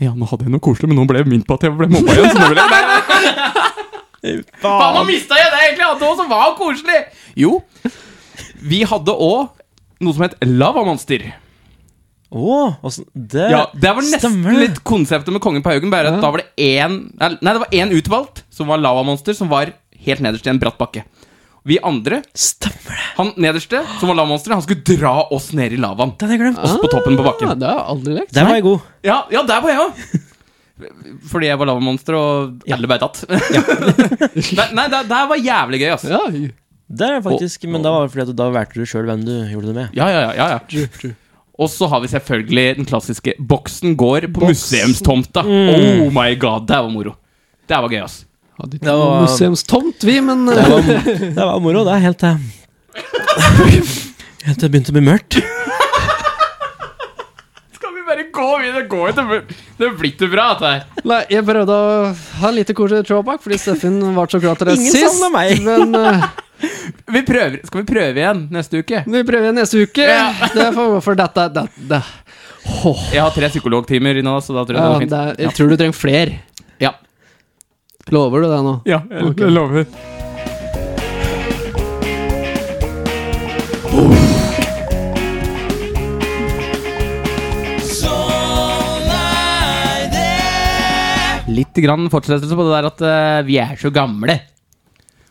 Speaker 1: Ja, nå hadde jeg noe koselig, men nå ble jeg minnet på at jeg ble mobba igjen. Så nå ble jeg Nei, nei, faen, nå mista jeg det jeg egentlig hadde òg, som var koselig! Jo, vi hadde òg noe som het Lavamonster.
Speaker 2: Å, åssen- det,
Speaker 1: Ja, det var nesten
Speaker 2: stemmer det.
Speaker 1: litt konseptet med Kongen på Haugen, bare at da var det én Nei, det var én utvalgt, som var lavamonster, som var helt nederst i en bratt bakke. Vi andre,
Speaker 2: Stemmer det!
Speaker 1: han nederste, som var lavamonster, han skulle dra oss ned i lavaen.
Speaker 2: Den har jeg glemt.
Speaker 1: Oss på toppen på
Speaker 3: Ja,
Speaker 1: bakken.
Speaker 3: Ah, det har jeg aldri lekt.
Speaker 2: Der var jeg god.
Speaker 1: Ja, ja der var jeg òg! Fordi jeg var lavamonster, og alle ble tatt. nei, nei det, det var jævlig gøy, altså.
Speaker 3: Ja,
Speaker 2: Der er faktisk, Men da var det fordi at du- da valgte du sjøl hvem du gjorde det med.
Speaker 1: Ja, ja, ja, ja, ja.
Speaker 3: true, true.
Speaker 1: Og så har vi selvfølgelig den klassiske Boksen går på museumstomta. Oh my god, det var moro. Det var gøy, altså. ass.
Speaker 3: Hadde
Speaker 2: Det
Speaker 3: ikke
Speaker 2: var-
Speaker 3: noe museumstomt, vi, men
Speaker 2: Det var, det var moro. Det er helt eh, Helt til det begynte å bli mørkt.
Speaker 1: Skal vi bare gå videre? Gå videre. Det blir ikke bra, dette her.
Speaker 3: eh, Nei, jeg prøvde å ha en lite koselig throwback, fordi Steffen var så glad til det
Speaker 2: Ingen
Speaker 3: sist.
Speaker 2: savner meg.
Speaker 3: Men eh,
Speaker 1: Vi prøver. Skal vi prøve igjen neste uke?
Speaker 3: vi prøver igjen neste uke.
Speaker 1: Ja.
Speaker 3: Det får gå for dette. Det, det. Åh,
Speaker 1: Jeg har tre psykologtimer i nå, så da tror
Speaker 3: ja,
Speaker 1: jeg
Speaker 3: det
Speaker 1: det
Speaker 3: er,
Speaker 1: går
Speaker 3: jeg
Speaker 1: fint.
Speaker 3: tror du trenger flere.
Speaker 1: Ja.
Speaker 3: Lover du det nå?
Speaker 1: Ja, jeg, lover. Litt grann fortsettelse på det der at eh, vi er så gamle.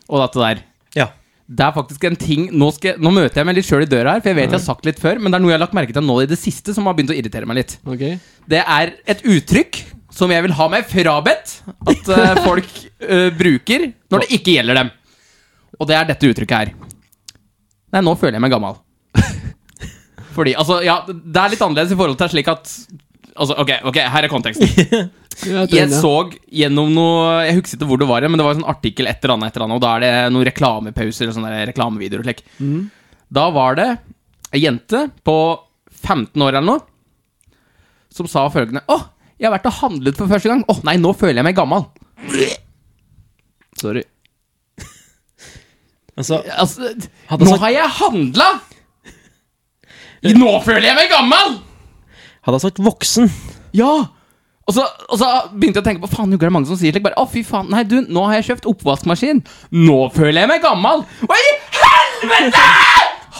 Speaker 1: Og dette der.
Speaker 2: Ja.
Speaker 1: Det er faktisk en ting Nå, skal, jeg- nå møter jeg meg litt sjøl i døra her, for jeg vet jeg har sagt litt før, men det er noe jeg har lagt merke til nå i det siste som har begynt å irritere meg litt.
Speaker 3: Ok.
Speaker 1: Det er et uttrykk som jeg vil ha meg frabedt at eh, folk eh, bruker når det ikke gjelder dem. Og det er dette uttrykket her. Nei, nå føler jeg meg gammal. Fordi, altså, ja, det er litt annerledes i forhold til slik at Altså, ok, ok, her er konteksten.
Speaker 3: Jeg tror
Speaker 1: Jeg
Speaker 3: det.
Speaker 1: så gjennom noe Jeg husker ikke hvor det var, men det var en sånn artikkel et eller annet, et eller annet og da er det noen reklamepauser eller sånne der reklamevideoer og slik. Da var det ei jente på 15 år eller noe som sa følgende Å, jeg har vært og handlet for første gang. Å, nei, nå føler jeg meg gammel.
Speaker 3: Sorry.
Speaker 2: Altså,
Speaker 1: Altså,
Speaker 2: Hadde
Speaker 1: nå
Speaker 2: sagt-
Speaker 1: har jeg handla! Nå føler jeg meg gammel!
Speaker 2: hadde jeg sagt voksen
Speaker 1: Ja! Og så, og så begynte jeg å tenke på Faen, jo, det er mange som sier slik bare, Å fy faen, nei du, nå har jeg kjøpt oppvaskmaskin Nå føler jeg meg gammel Hva i helvete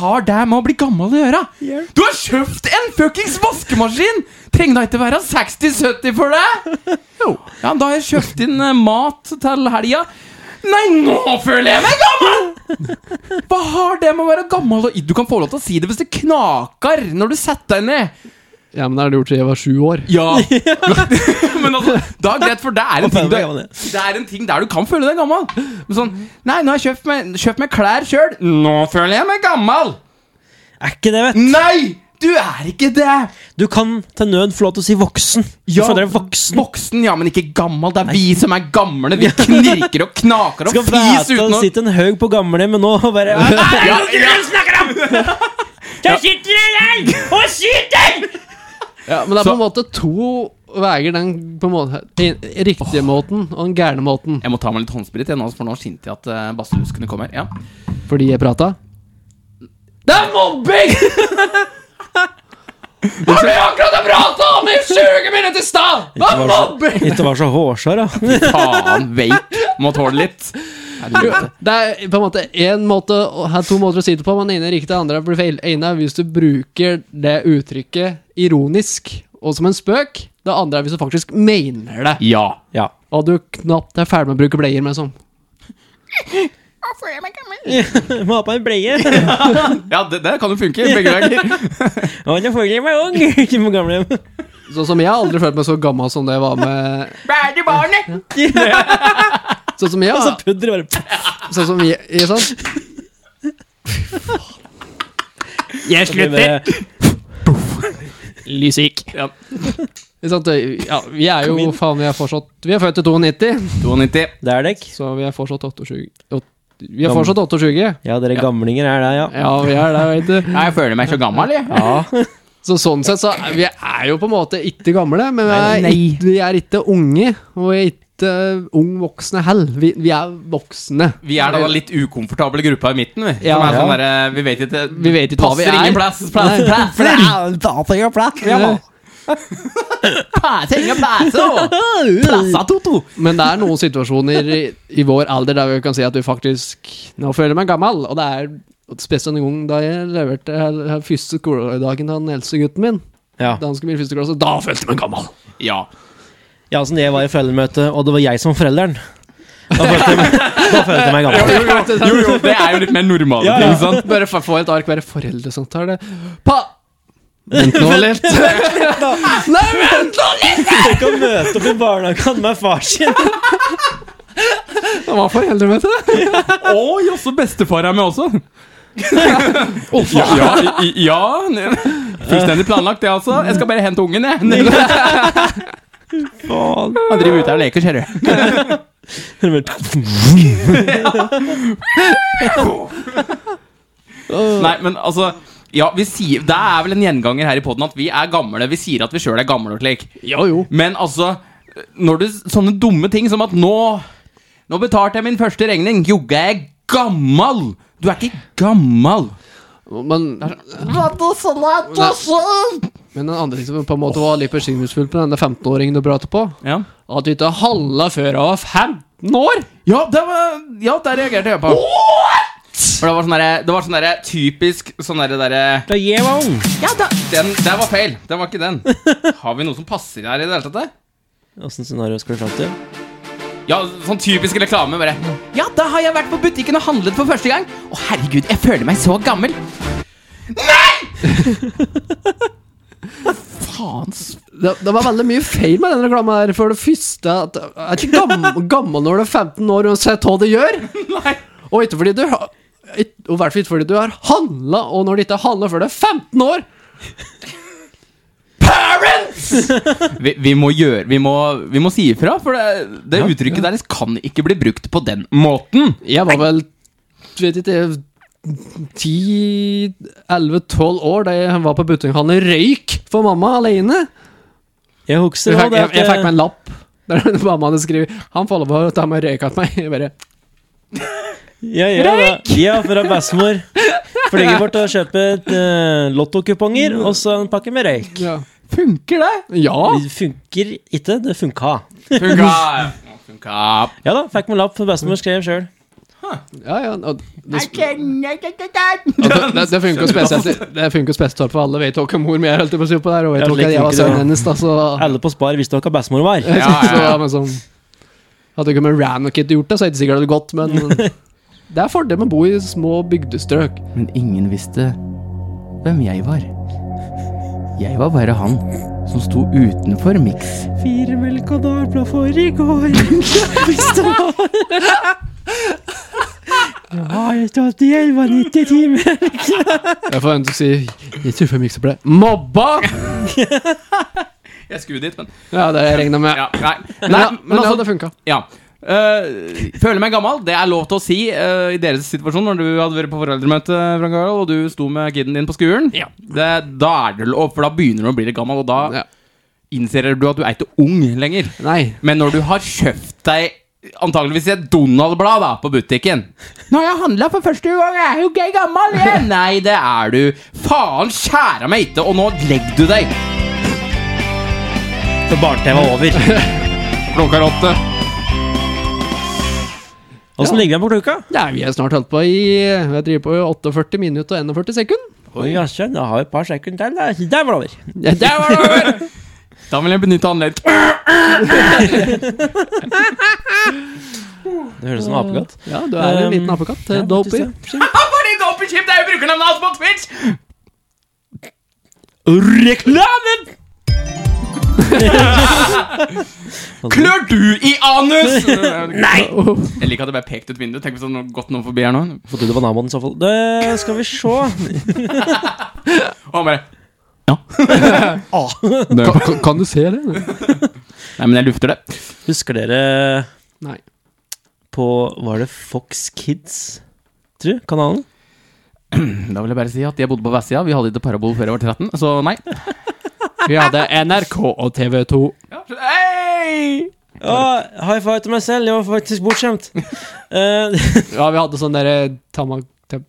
Speaker 1: Har det med å bli gammel å gjøre? Du har kjøpt en fuckings vaskemaskin Trenger da ikke være 60-70 for det? Jo Ja, da har jeg kjøpt inn eh, mat til helga Nei, nå føler jeg meg gammel Hva har det med å være gammel? å- Du kan få lov til å si det hvis det knaker Når du setter deg ned
Speaker 3: Ja, men det har du gjort siden jeg var sju år.
Speaker 1: ja. Men altså, da er det greit, for det er, en ting du,
Speaker 2: føler meg gammel,
Speaker 1: det er en ting der du kan føle deg gammel. Men sånn Nei, nå har jeg kjøpt meg, kjøpt meg klær sjøl. Nå føler jeg meg gammel!
Speaker 2: er ikke det, vet du.
Speaker 1: Nei! Du er ikke det!
Speaker 2: Du kan til nød få lov til å si voksen. Du
Speaker 1: Ja,
Speaker 2: føler deg voksen.
Speaker 1: Voksen, ja, men ikke gammel. Det er vi som er gamle. Vi knirker og knaker og
Speaker 2: Skal
Speaker 1: fis
Speaker 2: vite
Speaker 1: uten
Speaker 2: å
Speaker 1: å
Speaker 2: sitte en haug på gamlehjemmet nå og bare
Speaker 1: ja, ja.
Speaker 5: Der sitter det der og skyter!
Speaker 3: Ja, men det er
Speaker 1: Så-
Speaker 3: på en måte to veier den på en måte den riktige måten og den gærne måten.
Speaker 1: Jeg må ta meg litt håndsprit, jeg nå, for nå skinte jeg at uh, Bassehus kunne komme her. Ja.
Speaker 3: Fordi jeg prata.
Speaker 1: Det er mobbing! Har du akkurat prata om i 20 minutter i stad? Det
Speaker 2: Ikke var så, ikke var så hårsår, da.
Speaker 1: Faen, veik. Må tåle litt.
Speaker 3: Det er på en måte en måte å- her er to måter å si det på, men den ene er riktig, den andre blir feil. Den ene er hvis du bruker det uttrykket ironisk og som en spøk. Det andre er hvis du faktisk mener det,
Speaker 1: Ja.
Speaker 2: Ja.
Speaker 3: og du knapt er ferdig med å bruke bleier. med sånn.
Speaker 2: Må ha på en bleie.
Speaker 1: Ja, det, det kan jo funke begge veier.
Speaker 2: Å, nå føler jeg meg ung. Ikke på gamlehjem.
Speaker 3: Sånn som jeg har aldri følt meg så gammel som det jeg var med
Speaker 5: Bære barnet!
Speaker 3: Sånn som jeg,
Speaker 2: Og så altså pudder bare
Speaker 3: sånn som jeg, jeg sånn.
Speaker 1: Jeg
Speaker 3: Lysvik.
Speaker 1: Ja.
Speaker 3: Ikke sant? Ja, vi er jo faen, vi er fortsatt Vi er født i 92,
Speaker 1: 92.
Speaker 2: Det er dekk.
Speaker 3: så vi er fortsatt 28, åt- Vi er fortsatt 28.
Speaker 2: Ja, dere gamlinger er der, ja.
Speaker 3: Ja, vi er der, vet du.
Speaker 1: Nei, Jeg føler meg så gammel, jeg.
Speaker 3: Så sånn sett, så er- vi er jo på en måte ikke gamle, men vi er,
Speaker 1: Nei.
Speaker 3: ikke- vi er ikke unge. Og vi er ikke ung voksne heller. Vi, vi er voksne.
Speaker 1: Vi er da den litt ukomfortable gruppa i midten, vi. Som
Speaker 3: Ja.
Speaker 1: er sånn derre Vi vet ikke
Speaker 3: Vi vet ikke hva vi
Speaker 1: Passer
Speaker 3: er.
Speaker 1: ingen plass, plass, plass,
Speaker 3: Ja.
Speaker 1: Tenker bæse og Plassa Toto!
Speaker 3: Men det er noen situasjoner i, i vår alder der vi kan si at du faktisk Nå føler jeg meg gammel, og det er spesielt en gang da jeg leverte her- her første skoledagen til den eldste gutten min.
Speaker 2: Ja.
Speaker 3: Da han skulle bli i første klasse, da følte jeg meg gammel!
Speaker 1: Ja.
Speaker 2: Ja, sånn jeg var i foreldremøte, og det var jeg som var forelderen. Da følte jeg meg, da følte jeg meg gammel.
Speaker 1: Jo, jo, det er jo litt mer normale ting, sant?
Speaker 3: Bare for, få et ark, være foreldresamtale. Pa! Vent nå litt. Nei, vent nå!
Speaker 2: Tenk å møte opp i barnehagen med far sin!
Speaker 3: Han var foreldremøte.
Speaker 1: Å, jaså, bestefar er med også? ja, ja, i- i- ja ne- Fullstendig planlagt, det altså. Jeg skal bare hente ungen, jeg. Han driver ute her og leker, ser du. Nei, men altså ja, vi sier, Det er vel en gjenganger her i poden at vi er gamle. Vi sier at vi sjøl er gamle. og slik.
Speaker 3: Jo, jo.
Speaker 1: Men altså når du, Sånne dumme ting som at nå Nå betalte jeg min første regning. Jogga jeg gammal! Du er ikke gammal.
Speaker 3: Men, men den andre ting som på en måte var litt bekymringsfullt med denne 15-åringen du pratet på,
Speaker 1: Ja.
Speaker 3: at du ikke handla før jeg var 15 år!
Speaker 1: Ja, det var, ja, der reagerte jeg på. What?! For det var sånn derre- det var sånn derre typisk sånn derre derre-
Speaker 2: Da jeg var ung.
Speaker 1: ja, da, den, Der var feil. Det var ikke den. Har vi noe som passer her i det hele tatt?
Speaker 2: Åssen scenario skal du fram til?
Speaker 1: Ja, sånn typisk reklame bare Ja, da har jeg vært på butikken og handlet for første gang Å herregud, jeg føler meg så gammel Nei! Faen
Speaker 3: Det, det var veldig mye feil med den reklamen her. For det første at Jeg er ikke gammel, gammel når du er 15 år, uansett hva du gjør.
Speaker 1: Nei
Speaker 3: Og ikke fordi du har- ikke- og i hvert fall ikke fordi du har handla, og når du ikke har handla før du er 15 år
Speaker 1: vi, vi må gjøre, vi må, vi må si ifra For det, det uttrykket deres kan ikke bli brukt på den måten
Speaker 3: Jeg var vel vet ikke 10-11-12 år da jeg var på butikkhandel røyk for mamma alene.
Speaker 2: Jeg
Speaker 3: Jeg
Speaker 2: husker nå
Speaker 3: fikk,
Speaker 2: det
Speaker 3: jeg,
Speaker 2: at
Speaker 3: jeg fikk meg en lapp der mamma hadde skrevet 'Han får lov å ta med røyk av meg'. Jeg bare
Speaker 2: Ja, ja, da. ja fra bestemor. Flyger bort og kjøper et eh, lottokuponger og så en pakke med røyk.
Speaker 3: Ja.
Speaker 1: Funker det?
Speaker 3: ja.
Speaker 2: Det funker ikke, det funka.
Speaker 1: Funka Funka
Speaker 2: Ja da, fikk meg lapp. Bestemor skrev sjøl.
Speaker 3: Ja, ja. og Det, sp- Og det, det, det funker jo spesielt Det funker jo spesielt for alle. Vet dere mor mi er, holdt jeg på å si, på der, og vet
Speaker 2: Ja,
Speaker 3: dere
Speaker 2: slik
Speaker 3: jeg var
Speaker 2: funker det,
Speaker 3: sønnen
Speaker 2: ja.
Speaker 3: hennes, da, så
Speaker 2: Alle på Spar visste hva bestemor var.
Speaker 1: Ja,
Speaker 3: Så,
Speaker 1: ja,
Speaker 3: ja, men sånn Hadde ikke med Ran og Kit gjort det, så er det ikke sikkert det hadde gått, men Det er fordel med å bo i små bygdestrøk.
Speaker 1: Men ingen visste hvem jeg var Jeg var bare han som sto utenfor mix
Speaker 2: Fire melk og dagblad for i går. Hvis det var Ja, jeg stod i 11,90 timer.
Speaker 3: Jeg får vente å si Jeg tror for mye ble mobba!
Speaker 1: Jeg skulle dit, men
Speaker 3: Ja, det regna med.
Speaker 1: ja, Nei, nei altså,
Speaker 3: Men, altså, ja, men det hadde funka.
Speaker 1: Ja. Eh, føler meg gammel, det er lov til å si eh, i deres situasjon når du hadde vært på foreldremøte Frank Harald, og du sto med kiden din på skolen. Det, da er det lov, for da begynner du å bli litt gammel, og da
Speaker 3: Ja.
Speaker 1: innser du at du er ikke ung lenger.
Speaker 3: Nei.
Speaker 1: Men når du har kjøpt deg antageligvis et Donald-blad da, på butikken Nå har jeg handla for første gang, jeg er jo gøy gammel igjen! Nei, det er du. Faen skjæra meg ikke, og nå legger du deg.
Speaker 2: Så barne-TV var over.
Speaker 1: Klokka er åtte.
Speaker 2: Åssen ligger den på klokka?
Speaker 3: Nei, vi er snart holdt på i Jeg driver på i 48 minutter og 41 sekunder.
Speaker 2: Oi, Asbjørn, da har vi et par sekunder til. da. Der var det over.
Speaker 3: Ja, der var det over!
Speaker 1: Da vil jeg benytte anledningen.
Speaker 2: Det høres ut som en apekatt.
Speaker 3: Ja, du er en liten
Speaker 2: Um,
Speaker 3: apekatt. eh, Dopey.
Speaker 1: Fordi Dopey Chip er jo brukernavnet hans på Twitch!
Speaker 2: Reklamen!
Speaker 1: Klør du i anus? Nei! Jeg liker at jeg bare pekte ut vinduet. Tenk hvis det hadde gått noen forbi her nå.
Speaker 2: Fått ut av naboen i så fall. Det skal vi se.
Speaker 1: Og han bare
Speaker 3: Kan, kan- kan du se det?
Speaker 1: Nei, men jeg lufter det.
Speaker 2: Husker dere
Speaker 3: Nei.
Speaker 2: på Var det Fox Kids, tror du? Kanalen?
Speaker 1: Da vil jeg bare si at jeg bodde på vestsida. Vi hadde ikke parabol før jeg var 13, så nei.
Speaker 3: Vi hadde NRK og TV 2.
Speaker 1: Hei!
Speaker 2: Å, high five til meg selv! Jeg var faktisk bortskjemt. Eh,
Speaker 3: Ja, vi hadde sånn derre tama, tam-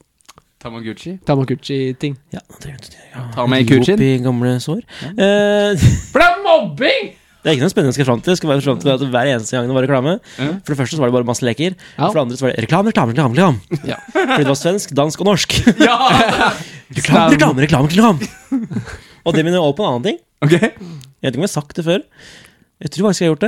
Speaker 1: Tamaguchi.
Speaker 3: Tamaguchi-ting.
Speaker 2: ja, det er jo
Speaker 1: Ta med Kuchin.
Speaker 2: opp i gamle sår. Eh,
Speaker 1: For det er mobbing!
Speaker 2: det er ikke noe spennende jeg skal fram til. Jeg skal bare fram til at Hver eneste gang det var reklame.
Speaker 1: Mhm.
Speaker 2: For det første så var det bare masse leker.
Speaker 3: Ja.
Speaker 2: For det andre så var det reklame, reklame, reklame. reklame.
Speaker 3: Ja.
Speaker 2: Fordi det var svensk, dansk og norsk.
Speaker 1: Ja!
Speaker 2: Reklame, reklame, reklame, reklame! Og det minner meg over på en annen ting.
Speaker 1: Ok.
Speaker 2: Jeg vet ikke om jeg har sagt det før. Jeg tror faktisk jeg har gjort det.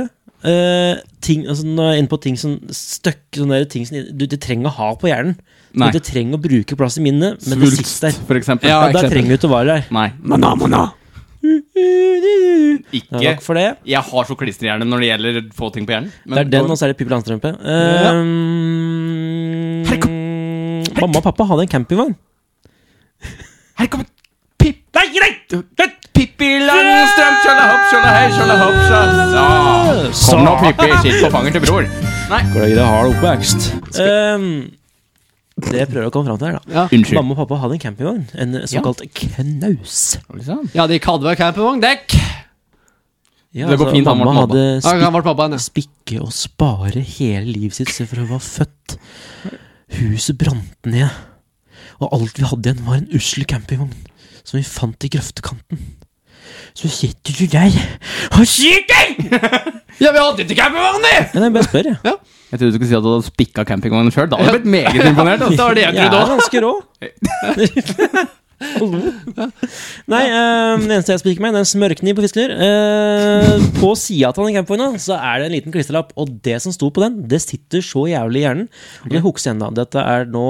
Speaker 2: Eh, ting, altså når jeg er inne på ting som støkk, sånne der ting som du ikke trenger å ha på hjernen. Du
Speaker 1: Nei.
Speaker 2: ikke trenger å bruke plass i minnet, men det
Speaker 1: Svulst,
Speaker 2: sitter der.
Speaker 1: for eksempel.
Speaker 2: Ja, der trenger du ikke å være der.
Speaker 1: Nei.
Speaker 2: Det er
Speaker 1: Ikke
Speaker 2: nok for det.
Speaker 1: Jeg har så klisterhjerne når det gjelder få ting på hjernen. men-
Speaker 2: Det er den, og så er det Pippi Langstrømpe. Ehm, mamma og pappa hadde en campingvogn.
Speaker 1: Her kommer Pip... Nei, nei! Pippi Langstrøm, kjølle hopp, kjølle hei, kjølle hopp, kjølle Så Kom nå, Pippi, sitt på fanget til bror. Nei.
Speaker 2: Det har du oppvekst. Ehm, det jeg prøver å komme fram til her, da.
Speaker 1: Unnskyld.
Speaker 2: Mamma og pappa hadde en campingvogn. En såkalt knaus.
Speaker 3: Ja, de kalte meg campingvogndekk!
Speaker 2: Ja, altså,
Speaker 1: Det går fint, han
Speaker 2: mamma
Speaker 1: Morten Abbe.
Speaker 2: hadde
Speaker 3: Ja, han ble pappa henne.
Speaker 2: spikke og spare hele livet sitt se fra hun var født. Huset brant ned, og alt vi hadde igjen, var en usle campingvogn som vi fant i grøftekanten. Så sitter du der og skyter!
Speaker 3: Ja, vi hadde ikke campingvogn, vi!
Speaker 2: Men jeg bare spør, jeg.
Speaker 1: Jeg trodde du skulle si at du hadde spikka campingvognen sjøl. Da hadde jeg blitt meget imponert. altså. Det var det jeg
Speaker 2: Jeg er
Speaker 1: trodde også.
Speaker 2: ganske rå. Hallo. Nei, eh, det eneste jeg spiker med, det er en smørkniv på fiskelur. Eh, på sida av den campingvogna så er det en liten klisterlapp, og det som sto på den, det sitter så jævlig i hjernen. Og det husker jeg ennå. Dette er nå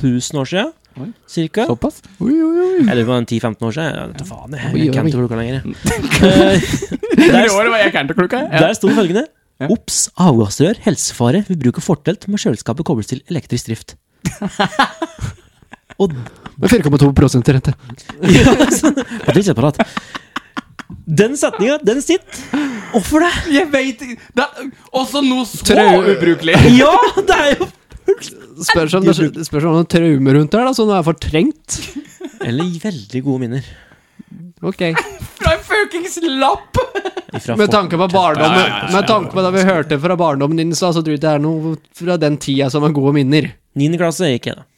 Speaker 2: 1000 år sia,
Speaker 1: Oi.
Speaker 2: cirka.
Speaker 1: Såpass?
Speaker 3: Oi, oi, oi.
Speaker 2: Eller det var en 10-15 år siden. Jeg vet da faen, jeg,
Speaker 3: Oi, oi,
Speaker 2: jeg kan ikke klokka lenger. Eh,
Speaker 1: I
Speaker 2: der,
Speaker 1: år var jeg canterklokka. Ja.
Speaker 2: der sto følgende.
Speaker 1: Ja.
Speaker 2: Ops, avgassrør, helsefare ved bruk av fortelt med kjøleskapet kobles til elektrisk drift. Og
Speaker 3: Med 4,2 rente.
Speaker 2: ja, altså, og det er ikke parat. Den setninga, den sitter. Hvorfor det?
Speaker 1: Jeg veit Det er også noe så
Speaker 3: Trau-
Speaker 1: ubrukelig.
Speaker 2: Ja, det er jo
Speaker 3: Spørs om det spørs om det er noen traumer rundt der, da, så det er fortrengt.
Speaker 2: Eller veldig gode minner.
Speaker 3: Ok.
Speaker 1: Fra en fuckings lapp!
Speaker 2: Ifra
Speaker 3: Med tanke på barndommen
Speaker 1: Ja, ja, ja, ja.
Speaker 3: Med tanke på det vi hørte fra barndommen din, så, så tror jeg det er noe fra den tida som er gode minner.
Speaker 2: Niende klasse gikk jeg, da.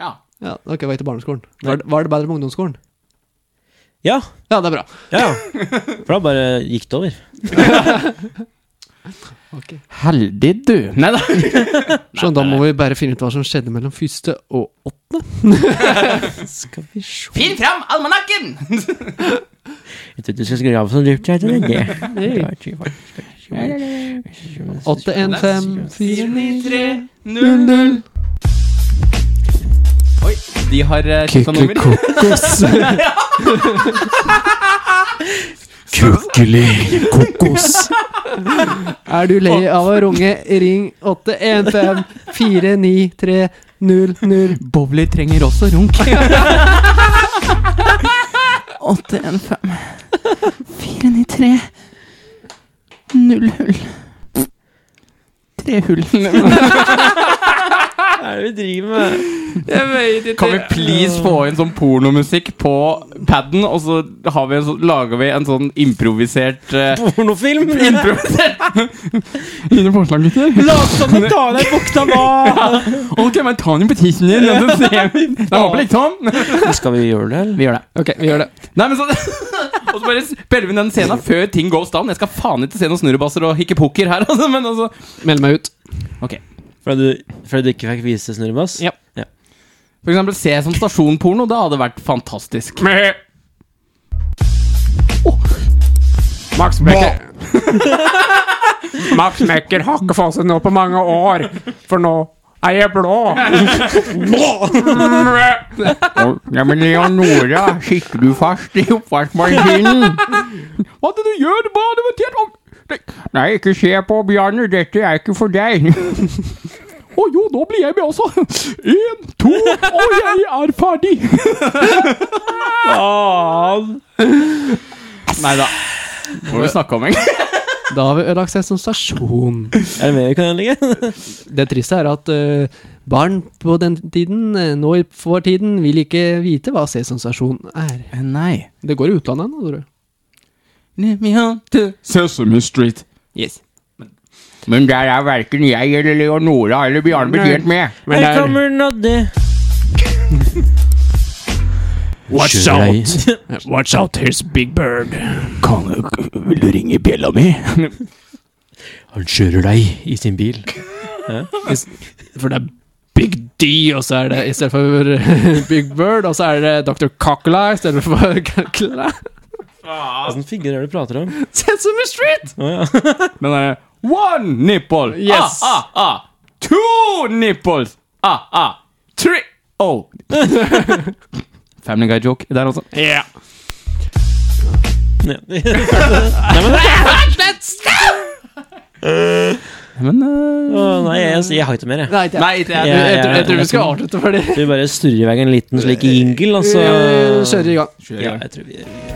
Speaker 1: Ja.
Speaker 3: Ja, ok, var ikke barneskolen. Var, det- var det bedre på ungdomsskolen?
Speaker 2: Ja,
Speaker 3: Ja, det er bra.
Speaker 2: ja, ja. For da bare gikk det over.
Speaker 1: Heldig, du. Nei da.
Speaker 3: Så da må vi bare finne ut hva som skjedde mellom første og åttende.
Speaker 2: Skal vi se
Speaker 1: Finn fram almanakken!
Speaker 2: Jeg trodde du skulle skrive av så dypt, jeg tror det. Det var ikke farlig.
Speaker 3: Åtte, en, fem, fire, ni, tre,
Speaker 1: 0-0.
Speaker 3: null.
Speaker 1: Oi, de har uh, skifta nummer.
Speaker 3: Kokos.
Speaker 2: Kukkeli kokos.
Speaker 3: Er du lei av å runge, ring 815-493-00.
Speaker 1: Bowler trenger også runk. 815 493 0 hull. Tre hull.
Speaker 2: Hva er det vi driver med?
Speaker 1: Kan vi please få inn sånn pornomusikk på paden, og så, har vi en sånn, lager vi en sånn improvisert eh,
Speaker 2: Pornofilm?
Speaker 1: Improvisert! Fine forslag, gutter.
Speaker 2: Lat som du tar av deg buksa nå!
Speaker 1: Ok, men ta den på tissen din, og så ser vi. Det var vel ikke sånn?
Speaker 2: Skal vi gjøre det, eller?
Speaker 1: Vi gjør det.
Speaker 3: Ok, vi gjør det.
Speaker 1: Nei, men så Og så bare spiller vi den scenen før ting goes down. Jeg skal faen ikke se noen snurrebasser og hikke poker her, altså, men altså
Speaker 3: Meld meg ut.
Speaker 2: Fordi du, fordi du ikke fikk vise snurrebass?
Speaker 1: Ja. For eksempel se som stasjonporno. Det hadde vært fantastisk. Oh. Max
Speaker 6: Becker. Max Mekker har ikke fått seg noe på mange år, for nå er jeg blå.
Speaker 1: Ja, men Leonora, sitter du fast i oppvaskmaskinen? Hva er det du gjør? Hva er det med tjern?
Speaker 6: Nei, ikke se på Bjarne, dette er ikke for deg.
Speaker 1: Å jo, nå blir jeg med også. Én, to, og jeg er ferdig. Faen. Nei da. Hva har vi snakka om, egentlig?
Speaker 3: Da har vi ødelagt seg som stasjon.
Speaker 2: Er det mer vi kan ødelegge?
Speaker 3: Det triste er at eh, barn på den tiden, eh, nå i- for tiden, vil ikke vite hva sesonstasjon er.
Speaker 1: Eh, Nei.
Speaker 3: Det går i utlandet nå, tror du.
Speaker 1: Let me on to
Speaker 6: Sesame Street.
Speaker 1: Yes.
Speaker 6: Men der er verken jeg eller Leonora eller Bjarne betjent med. Men
Speaker 4: Her kommer Noddy.
Speaker 6: Watch
Speaker 2: out!
Speaker 6: Watch out, here's Big Bird.
Speaker 1: Vil du ringe bjella mi?
Speaker 2: Han kjører deg i sin bil.
Speaker 3: For det er Big D, og så er det i stedet for Big Bird, og så er det Dr. Kakela i stedet for Kakela.
Speaker 2: Hvilken figur er det du prater om?
Speaker 3: Sesame Street! eh,
Speaker 2: Å, ja.
Speaker 1: Den derre One nipple!
Speaker 3: Yes.
Speaker 1: Ah, ah, ah. Two nipples! Ah, ah. Three Oh. Family Guy-joke der også.
Speaker 6: Yeah.
Speaker 2: Nei. Nei,
Speaker 1: Men eh,
Speaker 2: å, nei, jeg, jeg har ikke mer, jeg.
Speaker 3: Nei, det er-
Speaker 1: Nei, det er
Speaker 2: Ja,
Speaker 3: jeg, tror,
Speaker 2: ja,
Speaker 3: jeg tror vi
Speaker 2: jeg
Speaker 3: skal
Speaker 2: kan-
Speaker 3: avslutte for det.
Speaker 2: Vi bare snurrer i vei en liten slik jingle, og så
Speaker 3: Vi kjører i gang.
Speaker 2: Ja, jeg tror vi gjør det.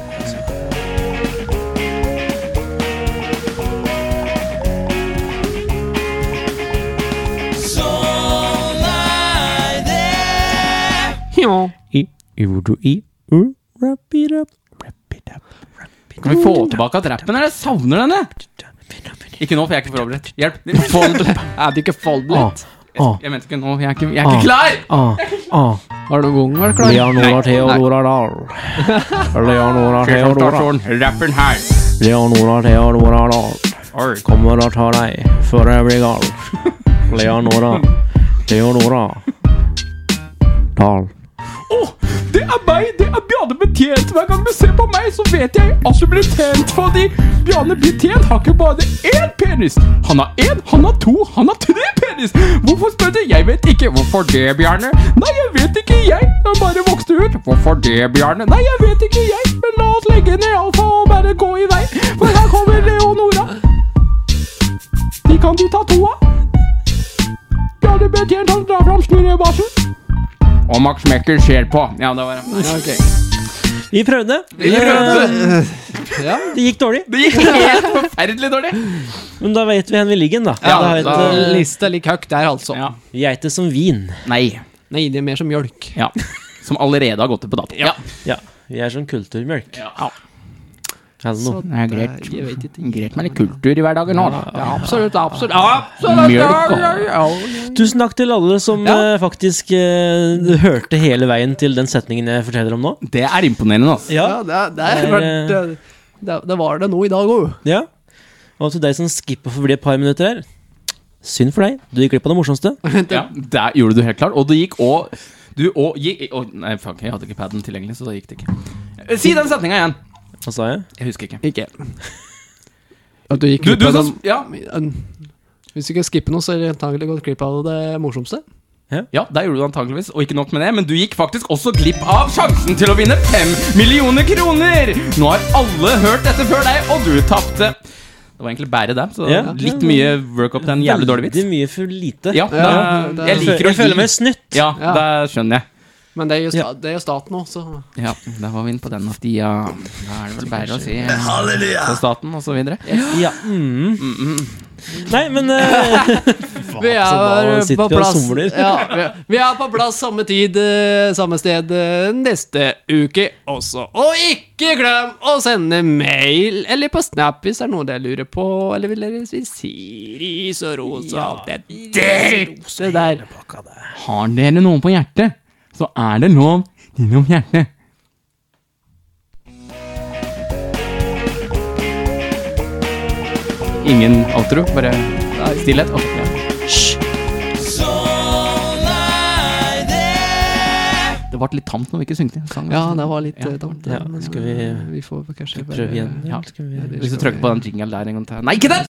Speaker 2: I, urdu, i, u, wrap it up. Wrap it up.
Speaker 1: eh, Kan vi få tilbake at rappen her? Jeg savner denne! Ikke nå, for jeg er ikke forberedt. Hjelp! Fold.
Speaker 3: Er det ikke Foldlet?
Speaker 2: Ah,
Speaker 1: Jeg mente ikke nå, jeg er ikke, jeg er ikke klar!
Speaker 2: ah, ah.
Speaker 3: Har du noen gang vært klar?
Speaker 2: Leonora Theodora Dahl. Leonora Theodora.
Speaker 1: Stasjon, rappen her.
Speaker 2: Leonora Theodora Dahl.
Speaker 1: Arr.
Speaker 2: Kommer og tar deg før jeg blir gal. Leonora. Theodora. Dahl.
Speaker 1: Det er meg, det er Bjarne Betjent. Hver gang du ser på meg, så vet jeg at du blir tent. Fordi Bjarne Betjent har ikke bare én penis. Han har én, han har to, han har tre penis. Hvorfor spør du? Jeg vet ikke. Hvorfor det, Bjarne? Nei, jeg vet ikke, jeg. Jeg bare vokste ut. Hvorfor det, Bjarne? Nei, jeg vet ikke, jeg. Men la oss legge ned alfa og bare gå i vei. For her kommer Leonora. De kan de ta to av. Bjarne Betjent, han drar fram snurrebassen. Og Max Mekker ser på. Ja, det var det.
Speaker 3: Ja, ok.
Speaker 2: Vi prøvde.
Speaker 3: Ja.
Speaker 2: Det gikk dårlig.
Speaker 1: Det gikk helt forferdelig dårlig.
Speaker 2: Men da vet vi hvor vi ligger, da.
Speaker 1: Ja,
Speaker 2: da vet,
Speaker 1: da-
Speaker 2: eh,
Speaker 3: Lista er like høyt der, altså.
Speaker 1: Ja.
Speaker 2: vi er ikke som vin.
Speaker 1: Nei.
Speaker 3: Nei, det er mer som mjølk.
Speaker 1: Ja. Som allerede har gått ut på dato. Ja.
Speaker 2: Ja, vi er som kulturmjølk. Er det noe?
Speaker 1: Det er greit.
Speaker 3: Jeg vet ikke.
Speaker 1: Greit med litt kultur i hverdagen nå. da.
Speaker 3: Absolutt, absolutt.
Speaker 1: Mjølk og
Speaker 2: Tusen takk til alle som
Speaker 3: Ja.
Speaker 2: eh, faktisk eh, hørte hele veien til den setningen jeg forteller om nå.
Speaker 1: Det er imponerende, altså.
Speaker 3: Ja, det, er- det, er,
Speaker 2: Det er,
Speaker 3: vært, det, det var det nå i dag òg.
Speaker 2: Ja. Og til deg som skipper forbi et par minutter her. Synd for deg. Du gikk glipp av det morsomste.
Speaker 1: Ja, der gjorde du helt klart. Og du gikk og Du og gikk og, Nei, fuck, jeg hadde ikke paden tilgjengelig, så da gikk det ikke. Eh, Si den setninga igjen!
Speaker 2: Hva sa jeg?
Speaker 1: Jeg husker ikke.
Speaker 3: Ikke At du gikk
Speaker 1: Du,
Speaker 3: glipp
Speaker 1: du
Speaker 3: av
Speaker 1: som
Speaker 3: den-
Speaker 1: Ja,
Speaker 3: Hvis du ikke skipper noe, så er det antagelig gått glipp av det morsomste.
Speaker 1: ja der gjorde du antakeligvis. Og ikke nok med det, men du gikk faktisk også glipp av sjansen til å vinne fem millioner kroner! Nå har alle hørt dette før deg, og du tapte. Det var egentlig bare deg, så
Speaker 2: Ja.
Speaker 1: litt mye work up til en jævlig dårlig vits.
Speaker 2: Veldig mye for lite.
Speaker 1: Ja, det,
Speaker 3: Ja, det-
Speaker 1: jeg liker å
Speaker 2: jeg føler
Speaker 1: gi
Speaker 2: meg snytt.
Speaker 1: Ja,
Speaker 3: Ja.
Speaker 1: det skjønner jeg.
Speaker 3: Men det er jo, sta
Speaker 2: Ja.
Speaker 3: det er jo staten òg, så
Speaker 1: Ja, Da var vi inne på den at de ja, Da er det vel bare å si ja, til staten og så videre.
Speaker 2: Ja. Mm. Nei, men eh,
Speaker 3: Vi
Speaker 2: da
Speaker 3: er
Speaker 2: sitter
Speaker 3: på
Speaker 2: vi og
Speaker 3: plass
Speaker 2: somler.
Speaker 3: ja, vi- Vi er på plass samme tid, eh, samme sted eh, neste uke også. Og ikke glem å sende mail eller på Snap hvis det er noe dere lurer på, eller vil dere si Siris og Rosa og alt det dritet der.
Speaker 1: Har dere noe på hjertet, så er det lov innom hjertet. Ingen outro, bare stillhet. Ok, ja. Det ble litt tamt når vi ikke syngte. Sang. altså.
Speaker 3: Ja, det var litt eh, tamt.
Speaker 2: Ja,
Speaker 3: men,
Speaker 2: skal vi
Speaker 3: eh, Vi får kanskje
Speaker 2: prøve igjen?
Speaker 1: Ja.
Speaker 2: Skal vi...
Speaker 1: Hvis du trykker på den jingelen der en gang til Nei, ikke den!